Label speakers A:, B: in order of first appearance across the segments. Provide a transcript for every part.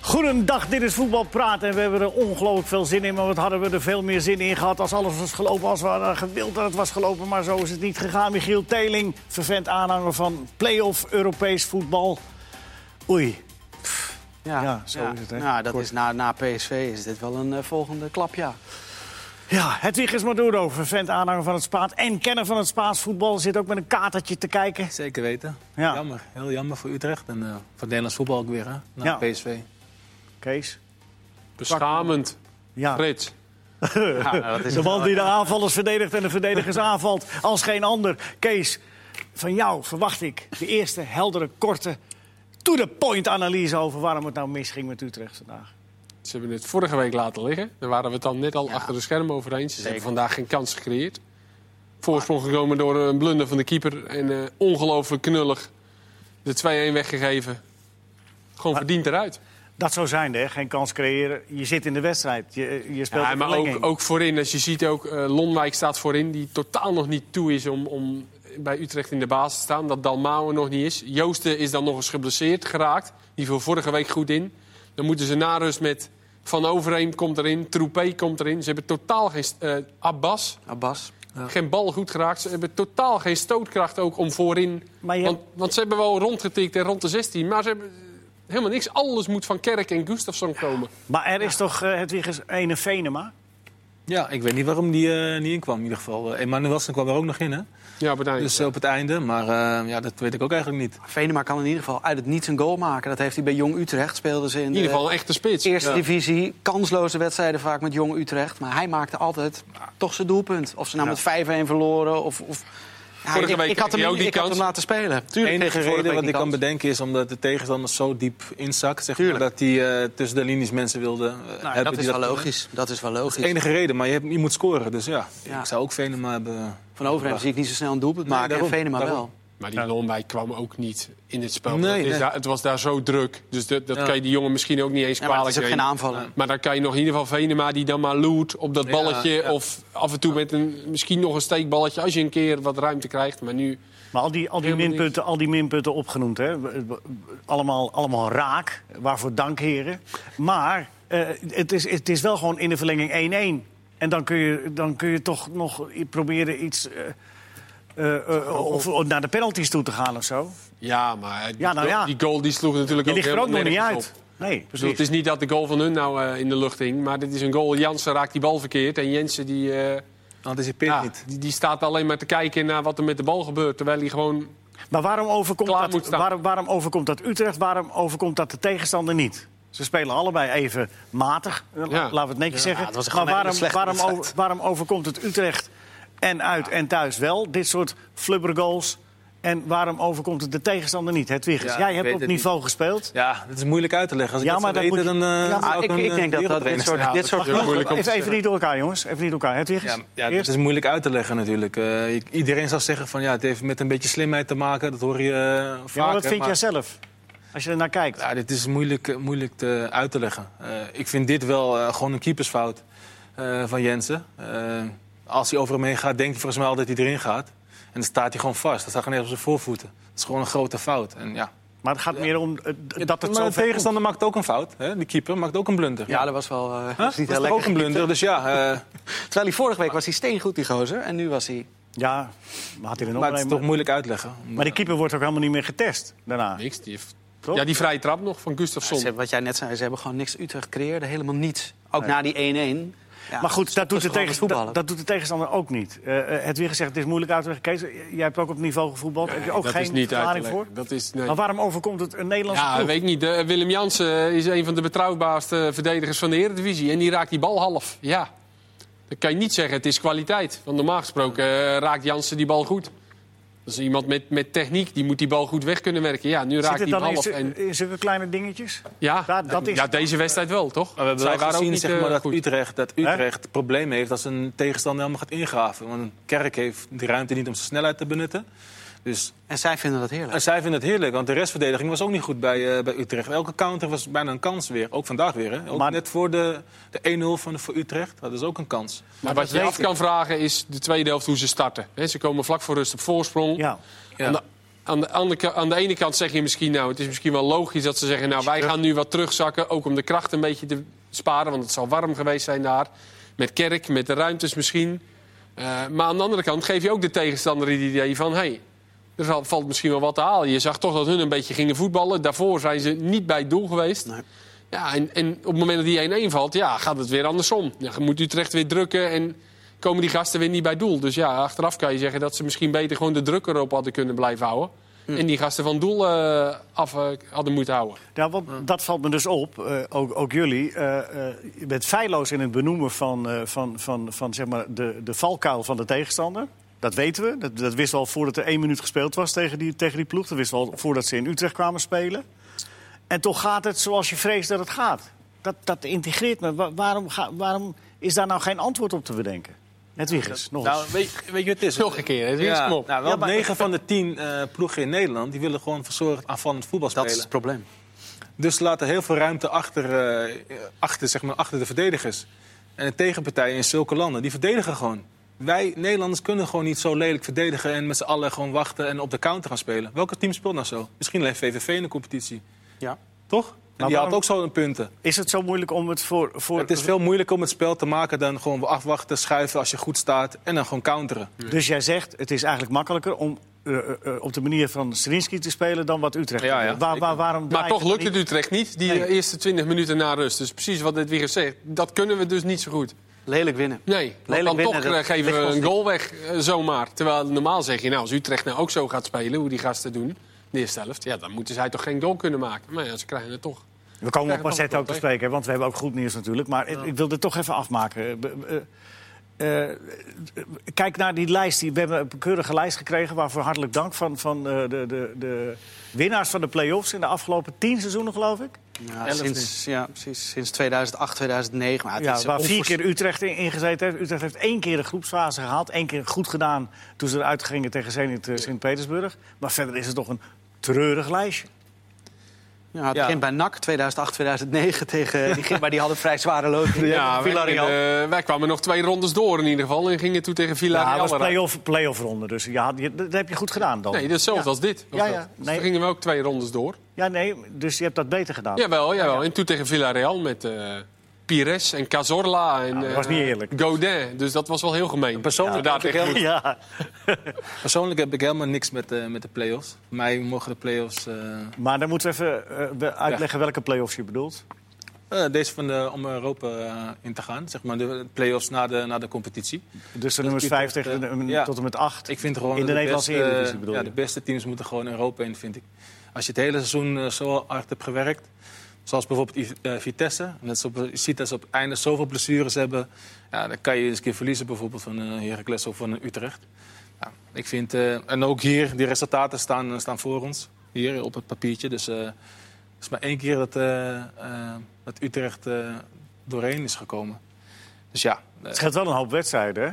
A: Goedendag, dit is Voetbal Praat en we hebben er ongelooflijk veel zin in. Maar wat hadden we er veel meer zin in gehad als alles was gelopen als we hadden gewild dat het was gelopen. Maar zo is het niet gegaan. Michiel Teling, vervent aanhanger van play-off Europees voetbal. Oei, Ja, zo is het, hè?
B: Nou, dat
A: Kort.
B: is na, na PSV is dit wel een eh, volgende klap, ja.
A: Ja, Hedwig is Maduro, vervent aanhanger van het Spaans en kenner van het Spaans voetbal. Zit ook met een katertje te kijken.
C: Zeker weten.
A: Ja.
C: Jammer. Heel jammer voor Utrecht en eh, voor het Nederlands voetbal ook weer, hè? Na
A: Ja.
C: PSV.
A: Kees?
D: Beschamend,
A: Ja,
D: Frits.
B: Ja, dat is
A: de man die de aanvallers verdedigt en de verdedigers aanvalt als geen ander. Kees, van jou verwacht ik de eerste heldere, korte, to-the-point analyse... over waarom het nou misging met Utrecht vandaag.
D: Ze hebben het vorige week laten liggen. Daar waren we het dan net al achter de schermen over eens. Ze
B: Zeker.
D: hebben vandaag geen kans gecreëerd. Voorsprong gekomen door eh, een blunder van de keeper. En eh, ongelooflijk knullig de 2-1 weggegeven. Gewoon verdiend eruit.
A: Dat zou zijn, hè? Geen kans creëren. Je zit in de wedstrijd. Je, je speelt
D: Ja,
A: in
D: maar
A: verlenging.
D: ook, ook voorin. Als je ziet ook, eh, Lonwijk staat voorin. Die totaal nog niet toe is om, om bij Utrecht in de baas te staan. Dat Dalmauer nog niet is. Joosten is dan nog eens geblesseerd geraakt. Die viel vorige week goed in. Dan moeten ze na rust met Van Overheem komt erin. Troepé komt erin. Ze hebben totaal geen... st- eh, Abbas,
B: Abbas.
D: geen bal goed geraakt. Ze hebben totaal geen stootkracht ook om voorin...
A: Maar je-
D: Want, want ze hebben wel rondgetikt en rond de 16. Maar ze hebben eh, helemaal niks. Alles moet van Kerk en Gustafsson komen.
A: Maar er is toch eh, het Hedwigers ene Venema?
C: Ja, ik weet niet waarom die eh, niet inkwam in ieder geval. Eh, Emanuelsen kwam er ook nog in, hè?
D: Ja, bedankt.
C: Dus eh, op het einde. Maar eh, ja, dat weet ik ook eigenlijk niet.
B: Venema kan in ieder geval uit het niets een goal maken. Dat heeft hij bij Jong Utrecht. Speelden ze in
D: in
B: de
E: eh,
D: ieder geval een echte spits.
B: eerste
D: Ja.
B: divisie. Kansloze wedstrijden vaak met Jong Utrecht. Maar hij maakte altijd toch zijn doelpunt. Of ze nou met 5-1 verloren. Of, of... Ja,
D: Vorige
B: ik,
D: week
B: ik had hem,
D: kreeg hij ook die
B: ik had
D: kans.
B: hem laten spelen.
C: De
B: Tuurlijk
C: enige
B: kreeg hij vorige
C: reden
B: week
C: wat
B: die
C: ik kan
B: kans.
C: bedenken is omdat de tegenstander zo diep inzakt. Zeg maar,
B: Tuurlijk.
C: dat die eh, tussen de linies mensen wilden. eh,
B: Nou,
C: hebben
B: dat
C: die
B: is wel logisch. Dat is wel
C: De
B: logisch.
C: enige reden, maar je, hebt, je moet scoren. Dus ja,
B: Ja.
C: ik zou ook Venema hebben. eh,
B: Van Overheem zie ik niet zo snel een doelpunt
C: Nee,
B: maken.
C: daarom,
B: en Venema
C: daarom.
B: wel.
D: Maar die Lonwijk kwam ook niet in het spel.
C: Nee,
D: dat is
C: nee.
D: daar- het was daar zo druk. Dus dat, dat
C: Ja.
D: kan je die jongen misschien ook niet eens
B: Ja, maar het
D: kwalijk
B: is ook geen
D: nemen.
B: aanvaller.
D: Maar dan kan je nog in ieder geval Venema die dan maar loert op dat
C: Ja,
D: balletje.
C: ja.
D: Of af en toe met een, misschien nog een steekballetje. Als je een keer wat ruimte krijgt. Maar nu
A: Maar al die, al die,
D: Helemaal niks.
A: minpunten, al die minpunten opgenoemd, hè? Allemaal, allemaal raak. Waarvoor dank, heren. Maar eh, het, is, het is wel gewoon in de verlenging 1-1. En dan kun, je, dan kun je toch nog i- proberen iets... eh, eh, eh, of, of naar de penalties toe te gaan of zo.
D: ja, maar die,
A: Ja, nou ja.
D: die goal die sloeg natuurlijk
A: Je
D: ook
A: ligt er ook nog
D: helemaal
A: niet
D: nergens
A: uit.
D: op.
A: Nee,
D: Dus het
A: precies.
D: is niet dat de goal van hun nou eh, in de lucht hing. Maar dit is een goal. Jansen raakt die bal verkeerd. En Jensen die, eh,
C: Anticipeert
D: ja,
C: niet.
D: die, die staat alleen maar te kijken naar wat er met de bal gebeurt. Terwijl hij gewoon
A: Maar waarom overkomt,
D: Klaar
A: dat,
D: moet staan.
A: waarom, waarom overkomt dat Utrecht? Waarom overkomt dat de tegenstander niet? Ze spelen allebei even matig, eh, la-
D: Ja.
A: laten we het netjes zeggen.
B: het was gewoon
A: maar
B: een hele
A: waarom,
B: slechte
A: waarom,
B: wedstrijd.
A: over- waarom overkomt het Utrecht en uit en thuis wel? Dit soort flubbergoals. En waarom overkomt het de tegenstander niet? Het
C: Ja,
A: Jij
C: ik
A: hebt
C: weet
A: op
C: het
A: niveau gespeeld.
C: Ja, dat is moeilijk uit te leggen. Als
A: Ja,
C: ik dat
A: maar
C: zou
A: dat
C: weten,
A: moet je-
C: dan... eh,
A: Ja,
C: zou
B: Ah, ik,
C: een,
B: ik
C: eh,
B: denk dat, dat dit
C: wereldtrainer
B: soort,
C: zijn.
B: dit soort
D: dat is heel moeilijk om
A: Even, even niet door elkaar, jongens. Even niet door elkaar. Hedwig,
C: Ja, ja,
A: eerst?
C: het is moeilijk uit te leggen natuurlijk. Eh, ik- iedereen zal zeggen van ja, het heeft met een beetje slimheid te maken. Dat hoor je eh, vaak.
A: Ja, maar wat
C: hè,
A: vind
C: maar-
A: jij zelf? Als je er naar kijkt.
C: Ja, dit is moeilijk, eh, moeilijk te, uit te leggen. Eh, ik vind dit wel eh, gewoon een keepersfout eh, van Jensen. Eh, als hij over hem heen gaat, denkt hij volgens mij al dat hij erin gaat. En dan staat hij gewoon vast. Dat staat gewoon even op zijn voorvoeten. Dat is gewoon een grote fout. En ja,
A: Maar het gaat meer om eh, d- dat het
C: maar
A: zo
C: de tegenstander maakt ook een fout. Hè? De keeper maakt ook een blunder.
B: Ja, dat was wel eh,
C: Huh?
B: was niet
C: Dat
B: heel
C: is toch ook
B: lekker.
C: een blunder. Dus ja, eh,
B: Terwijl hij vorige week was hij steengoed, die gozer. En nu was hij...
A: Ja, maar had hij er nog
C: maar het is
A: een-
C: toch moeilijk uitleggen.
A: Maar die keeper wordt ook helemaal niet meer getest daarna.
D: niks. Die heeft-
A: Toch?
D: ja, die vrije trap nog van Gustafsson.
B: Ze- wat jij net zei, ze hebben gewoon niks. Utrecht creëerde helemaal niets. Ook na die 1-1. Ja,
A: maar goed, dat doet,
B: is
A: de
B: gewoon
A: tegen-
B: voetballen.
A: dat, dat doet de tegenstander ook niet. Eh, eh, het weer gezegd, het is moeilijk uit te leggen. Kees, eh, jij hebt ook op niveau gevoetbald. Heb je ook
D: dat
A: geen
D: is niet
A: verklaring
D: uit te
A: voor?
D: leggen. Dat is, nee.
A: Maar waarom overkomt het een Nederlandse
D: Ja,
A: ploeg?
D: weet ik niet. Eh, Willem Jansen is een van de betrouwbaarste verdedigers van de Eredivisie. En die raakt die bal half. Ja. Dan kan je niet zeggen, het is kwaliteit. Want normaal gesproken eh, raakt Jansen die bal goed. Dat is iemand met, met techniek, die moet die bal goed weg kunnen werken. Ja, nu
A: Zit
D: raakt
A: het
D: die
A: dan in,
D: half.
A: zu-
D: En,
A: in zulke kleine dingetjes?
D: ja,
A: Ja, dat is-
D: ja, deze wedstrijd wel, toch?
C: Maar we hebben
D: Zij
C: wel
D: waren ook
C: gezien
D: niet,
C: zeg maar,
D: eh,
C: dat,
D: goed.
C: Utrecht, dat Utrecht problemen heeft als een tegenstander helemaal gaat ingraven. Want een kerk heeft die ruimte niet om zijn snelheid te benutten. Dus
B: En zij vinden dat heerlijk.
C: en zij vinden het heerlijk, want de restverdediging was ook niet goed bij, eh, bij Utrecht. Elke counter was bijna een kans weer, ook vandaag weer. Hè? Ook
A: Maar-
C: net voor de, de 1-0 van, voor Utrecht, dat is ook een kans.
D: Maar wat je af kan vragen is de tweede helft hoe ze starten. Hè, ze komen vlak voor rust op voorsprong.
A: Ja.
C: Ja.
D: Aan de Aan de, andere ka- aan de ene kant zeg je misschien, nou, het is misschien wel logisch dat ze zeggen, nou, wij gaan nu wat terugzakken, ook om de kracht een beetje te sparen, want het zal warm geweest zijn daar. Met kerk, met de ruimtes misschien. Eh, maar aan de andere kant geef je ook de tegenstander het idee van, hey, er val- valt misschien wel wat te halen. Je zag toch dat hun een beetje gingen voetballen. Daarvoor zijn ze niet bij het doel geweest.
B: Nee.
D: Ja, en, en op het moment dat die 1-1 valt, ja, gaat het weer andersom. Ja, je moet Utrecht weer drukken en komen die gasten weer niet bij doel. Dus ja, achteraf kan je zeggen dat ze misschien beter gewoon de druk erop hadden kunnen blijven houden.
B: Hm.
D: En die gasten van doel eh, af eh, hadden moeten houden.
A: Ja, want dat valt me dus op, eh, ook, ook jullie. eh, eh, je bent feilloos in het benoemen van, eh, van, van, van zeg maar de, de valkuil van de tegenstander. Dat weten we. Dat, dat wisten we al voordat er één minuut gespeeld was tegen die, tegen die ploeg. Dat wisten we al voordat ze in Utrecht kwamen spelen. En toch gaat het zoals je vreest dat het gaat. Dat, dat integreert me. Wa- waarom, ga- waarom is daar nou geen antwoord op te bedenken? Het Wiegers, nog eens.
C: Nou, weet, weet je wat het is?
D: Nog een keer, het is
C: Ja,
D: hem op.
C: nou, wel
A: Ja, maar-
C: 9 van de 10 eh, ploegen in Nederland die willen gewoon verzorgd aanvallend voetbal
B: Dat
C: spelen.
B: is het probleem.
C: Dus ze laten heel veel ruimte achter, eh, achter, zeg maar, achter de verdedigers. En de tegenpartijen in zulke landen, die verdedigen gewoon. Wij Nederlanders kunnen gewoon niet zo lelijk verdedigen... en met z'n allen gewoon wachten en op de counter gaan spelen. Welke team speelt nou zo? Misschien alleen VVV in de competitie,
B: Ja.
C: toch? En die
A: Nou, waarom-
C: haalt ook zo een punten.
A: Is het zo moeilijk om het voor... voor
C: Het is veel moeilijker om het spel te maken dan gewoon afwachten, schuiven als je goed staat... en dan gewoon counteren.
A: Dus jij zegt, het is eigenlijk makkelijker om eh, eh, eh, op de manier van Strinski te spelen dan wat Utrecht.
C: Ja, ja,
A: doet. Waar, waar, waarom
D: Maar
A: draait
D: toch lukt
A: niet?
D: het Utrecht niet, die eh, eerste 20 minuten na rust. Dus precies wat dit weer zegt, dat kunnen we dus niet zo goed.
B: Lelijk winnen.
D: Nee, want
B: Lelijk
D: dan
B: winnen,
D: toch
B: dat
D: eh, geven
B: ligt
D: we
B: ons
D: een
B: niet.
D: goal weg eh, zomaar. Terwijl normaal zeg je, nou, als Utrecht nou ook zo gaat spelen, hoe die gasten doen, de eerste helft, ja, dan moeten zij toch geen goal kunnen maken. Maar ja, ze krijgen het toch.
A: We komen op
D: Krijgen
A: Pacet
D: toch
A: ook te
D: wel
A: spreken, hè, want we hebben ook goed nieuws natuurlijk. Maar ik, ik wil dit toch even afmaken. Eh, be- eh, eh, kijk naar die lijst. Die, we hebben een keurige lijst gekregen. Waarvoor hartelijk dank van, van eh, de, de, de winnaars van de play-offs in de afgelopen tien seizoenen, geloof ik.
B: Ja,
C: Elf
B: sinds, ja, precies. Sinds 2008, 2009. Maar het
A: Ja,
B: is
A: waar vier
B: onvoorz-
A: keer Utrecht in, in gezeten heeft. Utrecht heeft één keer de groepsfase gehaald. één keer goed gedaan toen ze eruit gingen tegen Zenit eh, Sint-Petersburg. Maar verder is het toch een treurig lijstje.
B: Ja, het
C: Ja.
B: begint bij NAC 2008, 2009 tegen... Die ging, maar die hadden vrij zware loting.
D: Ja, wij,
B: Villarreal.
D: eh, wij kwamen nog twee rondes door in ieder geval en gingen toen tegen
A: Ja,
D: Villarreal.
A: het was
D: eruit.
A: play-off, play-off ronde, dus ja, je- dat heb je goed gedaan dan.
D: nee, dat is hetzelfde als dit. was
A: Ja, ja,
D: dat. Dus
A: nee.
D: toen gingen we ook twee rondes door.
A: Ja, nee, dus je hebt dat beter gedaan.
D: Jawel, jawel. En toen tegen Villarreal met eh, Pires en Cazorla en
A: dat was niet
D: eh,
A: eerlijk.
D: Godin. Dus dat was wel heel gemeen.
C: Persoonlijk
D: Ja, daar
C: vond ik
D: tegen-
A: Ja,
C: Persoonlijk heb ik helemaal niks met, eh, met de play-offs. Mij mogen de play-offs... eh,
A: maar dan moeten we even eh, we uitleggen welke play-offs je bedoelt. Dus
C: Eh, deze van de, om Europa eh, in te gaan, zeg maar de play-offs na de, na de competitie.
A: Dus de nummers 5 tegen de-
C: eh, ja.
A: tot en met 8.
C: Ik vind gewoon
A: In de
C: dat
A: Nederlandse
C: beste,
A: Eredivisie bedoel
C: ja,
A: je?
C: de beste teams moeten gewoon Europa in, vind ik. Als je het hele seizoen eh, zo hard hebt gewerkt, zoals bijvoorbeeld I- eh, Vitesse, net zo, je ziet dat ze op het einde zoveel blessures hebben, ja, dan kan je eens een keer verliezen bijvoorbeeld van eh Heracles of van eh, Utrecht. Ja, ik vind, eh, en ook hier, die resultaten staan, eh, staan voor ons, hier op het papiertje. Dus eh, het is maar één keer dat, eh, eh, dat Utrecht eh, doorheen is gekomen. Dus ja, eh,
A: Het scheelt wel een hoop wedstrijden, hè?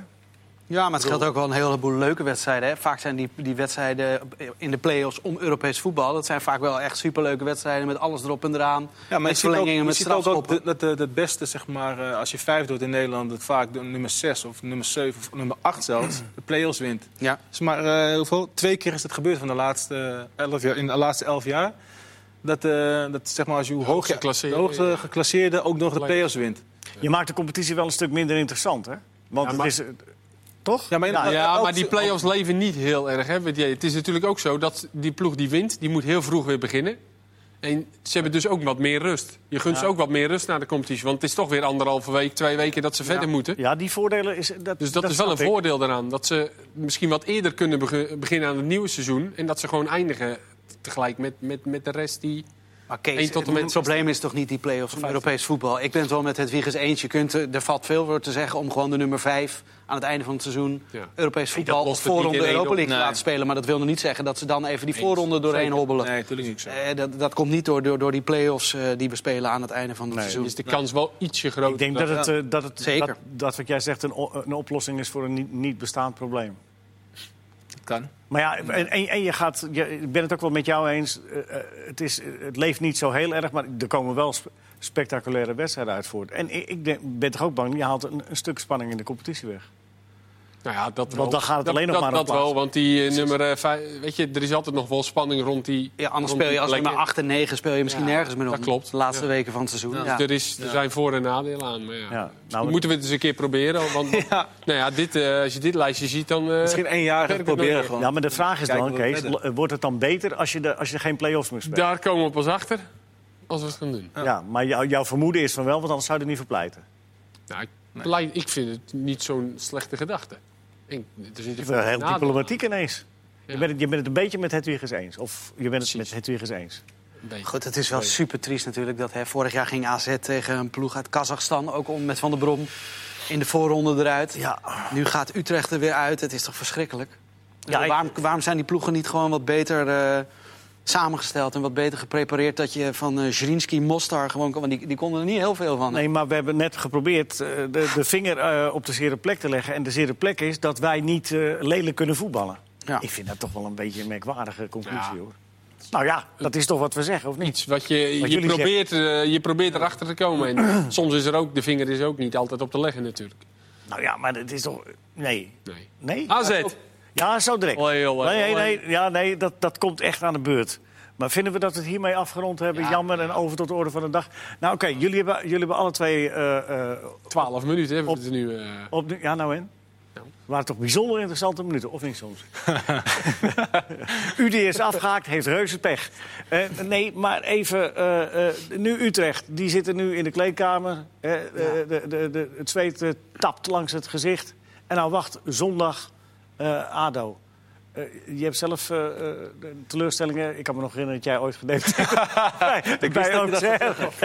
B: Ja, maar het geldt ook wel een heleboel leuke wedstrijden. Hè. Vaak zijn die, die wedstrijden in de play-offs om Europees voetbal... dat zijn vaak wel echt superleuke wedstrijden met alles erop en eraan.
C: Ja, maar je
B: met
C: ziet ook,
B: verlengingen,
C: je
B: met
C: ziet ook dat-
B: strafschoppen.
C: dat dat het beste, zeg maar, eh, als je vijf doet in Nederland, dat vaak de nummer zes of nummer zeven of nummer acht zelfs de play-offs wint.
B: Ja.
C: Dus maar eh, hoeveel? Twee keer is het gebeurd van de laatste elf jaar, in de laatste elf jaar. Dat, eh, dat zeg maar, als je hoe hoog
D: hoogste
C: je de
D: klasseerde-
C: hoogste geclasseerde ook nog de play-offs wint.
A: Je maakt de competitie wel een stuk minder interessant, hè? Want
D: Ja, maar-
A: het is... eh, Toch?
C: Ja, maar in-
A: ja,
C: eh,
D: Ja,
C: elk-
D: maar die play-offs leven niet heel erg. Hè? Want ja, Het is natuurlijk ook zo dat die ploeg die wint, die moet heel vroeg weer beginnen. En ze hebben dus ook wat meer rust. Je gunt ze ook wat meer rust na de competitie. Want het is toch weer anderhalve week, twee weken dat ze verder moeten.
A: ja, die voordelen is... Dat,
D: Dus dat, is wel een
A: snap ik.
D: voordeel daaraan. Dat ze misschien wat eerder kunnen bege- beginnen aan het nieuwe seizoen. En dat ze gewoon eindigen tegelijk met, met, met de rest die...
B: Maar Kees,
D: Eén tot en
B: het
D: met-
B: het probleem is toch niet die play-offs van Europees voetbal? Ik ben het wel met het Wiegers eens. Je kunt, eh, er valt veel voor te zeggen om gewoon de nummer 5 aan het einde van het seizoen
D: Ja.
B: Europees voetbal
C: lost
B: of
C: het niet
B: voorronde
C: in één
B: Europa
C: op.
B: League te
C: Nee.
B: laten spelen. Maar dat wil nog niet zeggen dat ze dan even die voorronde doorheen hobbelen.
C: Nee, natuurlijk niet zo.
B: Eh, dat, dat komt niet door, door, door die play-offs eh, die we spelen aan het einde van het seizoen.
D: is de kans wel ietsje groter.
A: Ik denk dat het, eh, dat, het
B: Zeker.
A: dat, dat wat jij zegt een, o- een oplossing is voor een niet, niet bestaand probleem.
C: Dat kan.
A: Maar ja, en, en, en je gaat, je, ik ben het ook wel met jou eens. eh, eh, het, is, eh, het leeft niet zo heel erg, maar er komen wel sp- spectaculaire wedstrijden uit voort. En ik, ik denk- ben toch ook bang, je haalt een, een stuk spanning in de competitie weg.
D: Nou ja, dat wel.
A: Want dan gaat het alleen nog
D: dat,
A: maar om
D: dat
A: plaats.
D: wel, want die eh, nummer eh, vijf... Weet je, er is altijd nog wel spanning rond die...
B: Ja, anders
D: rond
B: speel je
D: die
B: als nummer
D: plekken.
B: 8 en 9 speel je misschien
D: Ja,
B: nergens meer om.
D: dat klopt.
B: De laatste weken van het seizoen. Ja.
D: Dus Er, is, er zijn voor- en nadelen aan. Maar ja.
A: Ja, nou,
D: Misschien moeten we het eens een keer proberen. Want Nou ja, dit, eh, als je dit lijstje ziet, dan... eh,
C: Misschien één jaar
D: werkt
C: dat
D: het
C: proberen
D: nooit
C: gewoon.
A: Ja, maar de vraag is
C: Kijken
A: dan,
C: we
A: Kees,
C: verder.
A: lo- wordt het dan beter als je, de, als je geen play-offs meer speelt?
D: Daar komen we pas achter, als we het gaan doen.
A: Ja, maar jou- jouw vermoeden is van wel, want anders zou je er niet verpleiten.
D: Nou, ik, blij- ik vind het niet zo'n slechte gedachte. Ik, er zit
A: Je bent heel
D: nadeel aan.
A: diplomatiek ineens.
D: Ja,
A: Je, bent het, je bent het een beetje met Hedwiges eens. Of je bent het met
D: Precies.
A: Hedwiges eens.
D: een beetje.
B: Goed, het is wel super triest natuurlijk. Dat, hè, vorig jaar ging AZ tegen een ploeg uit Kazachstan, ook om met Van der Brom. In de voorronde eruit. Nu gaat Utrecht er weer uit. Het is toch verschrikkelijk?
A: Ja, ik-
B: waarom, waarom zijn die ploegen niet gewoon wat beter eh, samengesteld en wat beter geprepareerd? Dat je van eh Zrinski, Mostar gewoon kan. Want die, die konden er niet heel veel van. hè?
A: Nee, maar we hebben net geprobeerd eh, de, de vinger eh, op de zere plek te leggen. En de zere plek is dat wij niet eh, lelijk kunnen voetballen.
B: Ja.
A: Ik vind dat toch wel een beetje een merkwaardige conclusie, hoor. Nou ja, dat is toch wat we zeggen, of niet?
D: Iets wat je, je,
A: jullie
D: probeert, eh, je probeert erachter te komen. En soms is er ook, de vinger is ook niet altijd op te leggen natuurlijk.
A: Nou ja, maar het is toch... Nee.
D: Nee.
A: Nee?
D: AZ.
A: Ja, zo direct.
D: Olé, olé,
A: nee,
D: olé.
A: nee, ja, nee dat, dat komt echt aan de beurt. Maar vinden we dat we het hiermee afgerond hebben?
D: Ja.
A: Jammer en over tot de orde van de dag. Nou oké, jullie, hebben, jullie hebben alle twee... eh, eh,
D: 12 minuten hebben we
A: Op-
D: het nu. eh.
A: op de- ja, nou en?
D: Ja.
A: Waren toch bijzonder interessante minuten, of niet soms? UD is afgehaakt, heeft reuze pech. Eh, nee, maar even, eh, eh, nu Utrecht. Die zitten nu in de kleedkamer. Eh, eh, de, de, de, het zweet eh, tapt langs het gezicht. En nou wacht, zondag eh, ADO. Eh, je hebt zelf eh, eh, de teleurstellingen. Ik kan me nog herinneren dat jij ooit gedempt hebt. Nee, ik
C: dat je
A: ben ook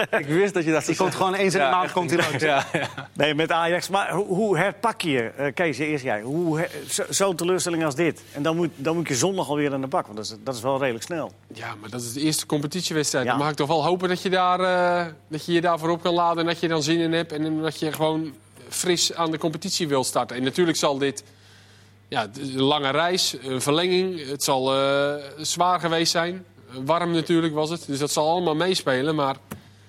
C: dat Ik wist dat je dat
B: Die komt gewoon eens in de
C: Ja,
B: maand
C: echt.
B: komt hij langs.
C: Ja, ja.
A: Nee, met Ajax. Maar hoe, hoe herpak je, eh, Kees, eerst jij, hoe her- zo- zo'n teleurstelling als dit? En dan moet, dan moet je zondag alweer aan de bak, want dat is, dat is wel redelijk snel.
D: Ja, maar dat is de eerste competitiewedstrijd.
A: Ja.
D: Dan mag ik toch wel hopen dat je, daar, eh, dat je je daarvoor op kan laden... en dat je dan zin in hebt en dat je gewoon fris aan de competitie wil starten. En natuurlijk zal dit... Ja, d- een lange reis, een verlenging. Het zal eh, zwaar geweest zijn. Warm natuurlijk was het. Dus dat zal allemaal meespelen. Maar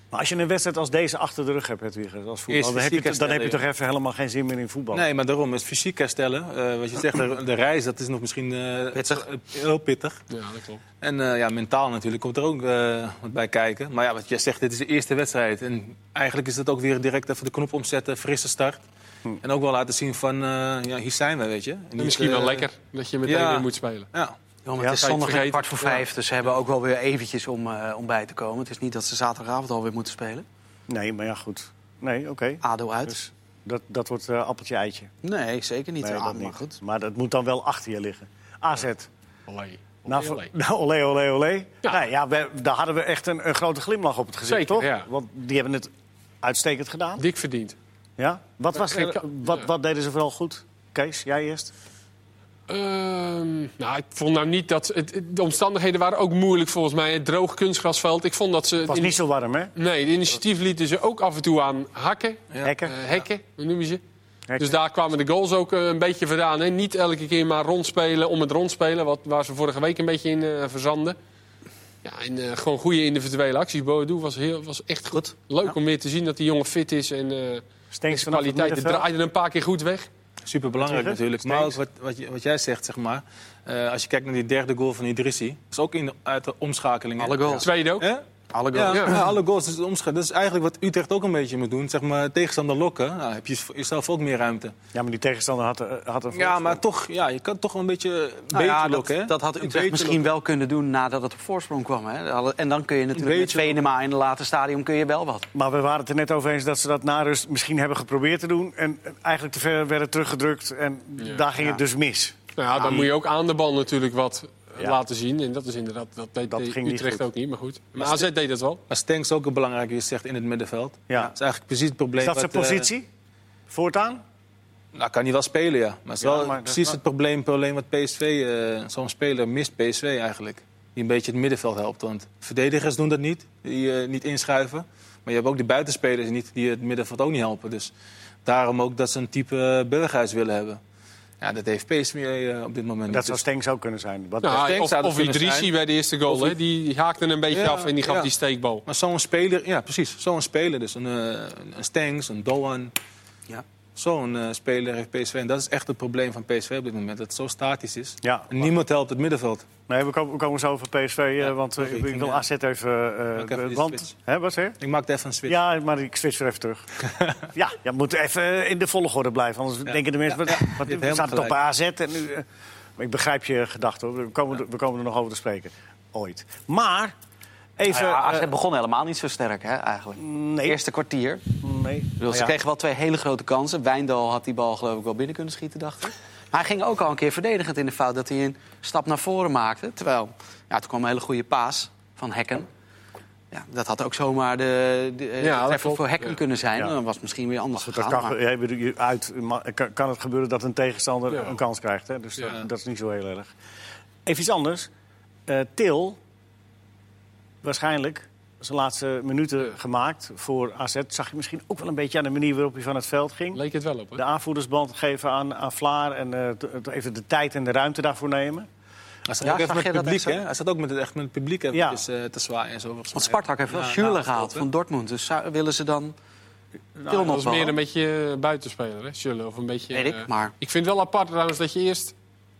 A: Maar als je een wedstrijd als deze achter de rug hebt, Hedwig, als voetbal,
C: Eerst
A: dan heb, je,
C: fysiek
A: toch- dan heb je toch
C: herstellen,
A: even helemaal geen zin meer in voetbal.
C: Nee, maar daarom, het fysiek herstellen. eh, wat je zegt, de, de reis, dat is nog misschien eh,
B: Pittig.
C: heel pittig.
D: ja, dat klopt.
C: En eh, ja, mentaal natuurlijk komt er ook eh, wat bij kijken. Maar ja, wat jij zegt, dit is de eerste wedstrijd. En eigenlijk is dat ook weer direct even de knop omzetten, frisse start.
D: Hm.
C: En ook wel laten zien van, eh, ja, hier zijn we, weet je. En niet,
D: Nou, misschien wel
C: eh,
D: lekker dat je meteen
C: ja.
D: weer moet spelen.
C: Ja,
B: Ja, maar het
A: Ja,
B: is
D: zou ik
B: zondag en
D: vergeten.
B: kwart voor vijf, dus ze hebben ook wel weer eventjes om, eh, om bij te komen. Het is niet dat ze zaterdagavond alweer moeten spelen.
A: Nee, maar ja, goed. Nee, oké.
B: ADO uit.
A: Dus dat, dat wordt eh, appeltje-eitje.
B: Nee, zeker niet.
A: Nee,
B: Ah,
A: dat
B: maar
A: niet.
B: goed.
A: Maar dat moet dan wel achter je liggen. AZ.
D: Allee.
A: Nou,
D: Allee.
A: voor- nou, olé, olé, olé.
D: Ja.
A: Nou ja, we, daar hadden we echt een, een grote glimlach op het gezicht,
D: Zeker,
A: toch?
D: ja.
A: Want die hebben het uitstekend gedaan.
D: Dik verdiend.
A: Ja? Wat, was er-
D: Ik-
A: wat,
D: ja.
A: wat deden ze vooral goed? Kees, jij eerst?
D: Ehm, nou, ik vond nou niet dat... het- het- de omstandigheden waren ook moeilijk volgens mij. Het droog kunstgrasveld. Ik vond dat ze...
A: Het was
D: in-
A: niet zo warm, hè?
D: Nee, de initiatief lieten ze ook af en toe aan hakken.
A: Hekken.
D: Eh, hekken, hoe noem je ze?
A: Hekken.
D: Dus daar kwamen de goals ook eh, een beetje vandaan. Hè? Niet elke keer maar rondspelen om het rondspelen. Wat, waar ze vorige week een beetje in eh, verzanden. Ja, en eh, gewoon goede individuele acties. Boadu was, heel, was echt goed. Leuk om weer te zien dat die jongen fit is. En eh
A: Stenks vanaf het
D: de kwaliteit
A: middenveld.
D: draaide een paar keer goed weg.
C: superbelangrijk
A: Tegen?
C: natuurlijk. Maar ook wat, wat, je- wat jij zegt, zeg maar. eh, als je kijkt naar die derde goal van Idrissi. Dat is ook in de, uit de omschakeling.
B: Alle goals.
D: Tweede ook.
C: Ja.
B: Alle
C: Ja,
B: goals.
D: Ja.
C: ja, alle goals is omschakelen. Dat is eigenlijk wat Utrecht ook een beetje moet doen. Zeg maar, tegenstander lokken, nou, heb je zelf ook meer ruimte.
A: Ja, maar die tegenstander had, eh, had een
C: Ja,
A: voorsprong.
C: maar toch, ja, je kan toch wel een beetje, een
B: Nou
C: beetje
B: ja,
C: lokken. hè?
B: dat, dat had
C: Een
B: Utrecht
C: beetje
B: misschien wel kunnen doen nadat het op voorsprong kwam. Hè? Alle- En dan kun je natuurlijk
C: Een
B: met
C: beetje
B: Venema in het later stadium kun je wel wat.
A: Maar we waren het er net over eens dat ze dat na rust misschien hebben geprobeerd te doen. En eigenlijk te ver werden teruggedrukt. En daar ging het dus mis.
D: Nou ja, dan moet je ook aan de bal natuurlijk wat eh,
A: Ja.
D: laten zien. En dat is inderdaad, dat deed
A: Dat
D: deed
A: ging niet
D: Utrecht
A: goed.
D: ook niet, maar goed. Maar AZ deed dat wel.
C: Maar Stenks ook een belangrijke, je zegt, in het middenveld.
A: Ja.
C: Dat is eigenlijk precies het probleem.
A: Is dat zijn
C: wat,
A: positie? Voortaan?
C: eh, nou, kan hij wel spelen, ja. Maar het is
A: Ja,
C: wel
A: maar dat-
C: precies het probleem, probleem wat PSV, eh, zo'n speler mist PSV eigenlijk. Die een beetje het middenveld helpt. Want verdedigers doen dat niet, die eh, niet inschuiven. Maar je hebt ook die buitenspelers niet, die het middenveld ook niet helpen. Dus daarom ook dat ze een type eh, Burghuis willen hebben. Ja, dat heeft PSV eh, op dit moment
A: Dat
C: niet.
A: zou Stenks ook kunnen zijn. Wat
D: Nou,
C: Stenks
D: of
C: zou dat
D: of
C: kunnen
D: Idrissi
C: zijn.
D: bij de eerste goal, hè, die haakte een beetje
C: Ja,
D: af en die gaf
C: ja.
D: die steekbal.
C: Maar zo'n speler, ja precies, zo'n speler dus. Een, eh, een Stengs, een Doan.
B: Ja.
C: Zo'n eh, speler heeft PSV. En dat is echt het probleem van PSV op dit moment. Dat het zo statisch is.
A: Ja.
C: En niemand helpt het middenveld.
A: Nee, we komen, we komen zo over PSV, eh,
C: Ja,
A: want eh,
C: sorry,
A: ik,
C: ik ging,
A: wil
C: eh,
A: AZ even... eh,
C: ik even
A: eh,
C: die
A: want,
C: switch.
A: hè, wat zeg je?
C: Ik maak daar even een switch.
A: Ja, maar ik switch er even terug. ja, je moet even eh, in de volgorde blijven. Anders denken de mensen, wat, wat,
C: hebt
A: we
C: helemaal
A: staan toch
C: gelijk.
A: bij AZ. En nu, eh, maar ik begrijp je gedachte, hoor. We komen, er- we komen er nog over te spreken. Ooit. Maar, even...
E: Nou ja, AZ
A: eh,
E: begon helemaal niet zo sterk, hè, eigenlijk.
A: nee,
E: Eerste kwartier. Ik
A: nee.
E: bedoel, ze
A: Ja.
E: kregen wel twee hele grote kansen. Wijndal had die bal geloof ik wel binnen kunnen schieten, dacht ik. Maar hij ging ook al een keer verdedigend in de fout dat hij een stap naar voren maakte. Terwijl, ja, toen kwam een hele goede paas van Hekken. Ja, dat had ook zomaar de, de, eh,
D: Ja, dat
E: treffer
D: klopt,
E: voor Hekken
D: ja.
E: kunnen zijn.
A: Ja.
E: Dan was het misschien weer anders
A: Dat
E: gegaan.
A: kan,
E: maar-
A: ge- ja, bedoel, je uit, ma- kan, kan het gebeuren dat een tegenstander
D: Ja.
A: een kans krijgt. Hè? Dus
C: Ja.
A: dat, dat is niet zo heel erg. Even iets anders. Eh, Til, waarschijnlijk zijn laatste minuten gemaakt voor AZ... zag je misschien ook wel een beetje aan de manier waarop hij van het veld ging.
D: Leek het wel op, hè?
A: De aanvoerdersband geven aan, aan Vlaar en eh, t- t- even de tijd en de ruimte daarvoor nemen.
C: Hij zat
E: Ja,
C: ook echt
E: zag
C: met
E: jij
C: het
E: dat
C: publiek,
E: echt zo?
C: hè? Hij zat ook met het, echt met het publiek eventjes, eh, te zwaaien en zo. volgens
E: Want
C: mij.
E: Spartak heeft wel
C: Ja, nou,
E: Schürrle
C: ja,
E: gehaald
C: klopt,
E: van Dortmund. Dus zou- willen ze dan Til
D: Nou, Dat
E: nog
D: is
E: wel?
D: meer een beetje eh, buitenspeler, hè? Schürrle, of een beetje...
E: Weet ik,
D: eh,
E: maar-
D: Ik vind het wel apart trouwens dat je eerst...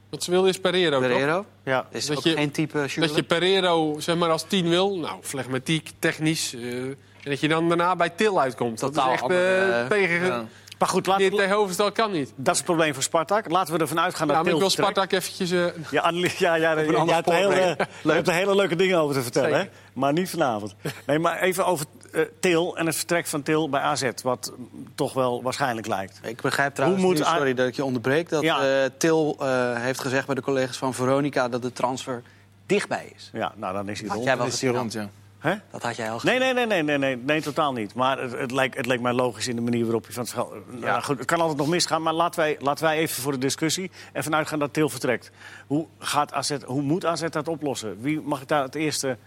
D: Wat ze wilden is Pereiro, toch?
E: Pereiro?
A: Ja.
E: Is
D: Dat
E: ook
D: je-
E: geen type Schürrle?
D: Dat je Pereiro zeg maar, als tien wil, nou, flegmatiek, technisch. eh, en dat je dan daarna bij Til uitkomt.
E: Totaal
D: dat is echt
E: andere,
D: eh,
E: eh,
D: tegen.
C: ja.
A: Maar goed,
D: Dit
A: laten we-
D: tegenoverstel kan niet.
A: dat is het probleem voor Spartak. Laten we ervan uitgaan
D: Nou,
A: dat
D: maar ik
A: Til...
D: wil
A: vertrekt.
D: Spartak eventjes. eh,
A: Ja, Annelies, ja, ja, ja,
E: ander
A: jij hebt er
E: spoor
A: hele-
E: mee.
A: je hebt er hele leuke dingen over te vertellen, hè? maar niet vanavond. Nee, maar even over eh, Til en het vertrek van Til bij AZ, wat mm, toch wel waarschijnlijk lijkt.
E: Ik begrijp trouwens,
A: Hoe moet
E: nu,
A: A-
E: sorry dat ik je onderbreek, dat
A: Ja.
E: eh, Til eh, heeft gezegd bij de collega's van Veronica dat de transfer dichtbij is.
A: Ja, nou, dan is hij
E: Had
A: rond.
E: jij wel
C: Dan is hij
E: gezien,
C: rond, ja.
A: Hè?
E: Dat had jij al gezien.
A: Nee, nee, nee, nee, nee, nee, nee, totaal niet. Maar het, het, leek, het leek mij logisch in de manier waarop je van het scha- Nou, goed, het kan altijd nog misgaan, maar laten wij, laten wij even voor de discussie ervan uitgaan dat Til vertrekt. Hoe, gaat AZ, hoe moet AZ dat oplossen? Wie mag daar het eerste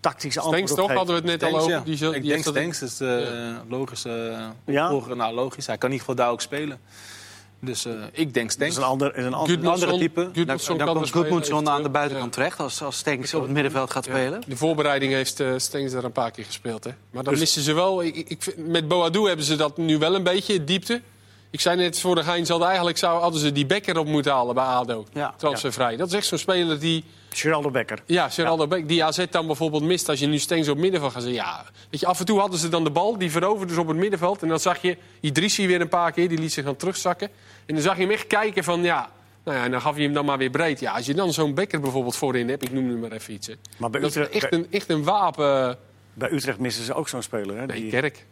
A: tactische antwoord
D: Stenks
A: op
D: toch?
A: geven?
D: Hadden we het net al
C: Stenks,
D: over.
C: ja.
D: Die,
C: ik
D: zo- die
C: denk
D: heeft dat-
C: Stenks is eh logisch. eh,
A: Ja?
C: opvolger. nou, logisch. Hij kan niet voor daar ook spelen. Dus eh, ik denk
A: Dat is
C: Stenks.
A: een ander, is een ander
D: Gudmundsson-
C: andere type. Dan-
D: Gudmundsson
E: Nou, Dan
D: kan
E: komt
D: er spelen,
E: Goodmoedson aan de
D: eventueel.
E: buitenkant terecht als, als Stenks op het middenveld gaat spelen.
D: De voorbereiding heeft eh Stengs daar een paar keer gespeeld. Hè? Maar dan missen ze wel. Ik, ik, vind- met Boadu hebben ze dat nu wel een beetje, diepte. Ik zei net voor de gein, ze hadden eigenlijk zou, hadden ze die Becker op moeten halen bij ADO.
E: Ja.
D: Transfervrij. Dat is echt zo'n speler die...
A: Geraldo Becker.
D: Ja, Geraldo Beck, die AZ dan bijvoorbeeld mist. Als je nu Stengs op het middenveld gaat zetten. Ja, weet je, af en toe hadden ze dan de bal, die veroverden ze op het middenveld. En dan zag je Idrissi weer een paar keer, die liet zich dan terugzakken. En dan zag je hem echt kijken van, ja... Nou ja, en dan gaf je hem dan maar weer breed. Ja, als je dan zo'n Becker bijvoorbeeld voorin hebt, ik noem nu maar even iets. Hè.
A: Maar bij
D: Dat is
A: Utrecht,
D: echt
A: bij,
D: een, echt een wapen.
A: bij Utrecht missen ze ook zo'n speler. Hè?
D: Nee,
A: Die-
D: Kerk.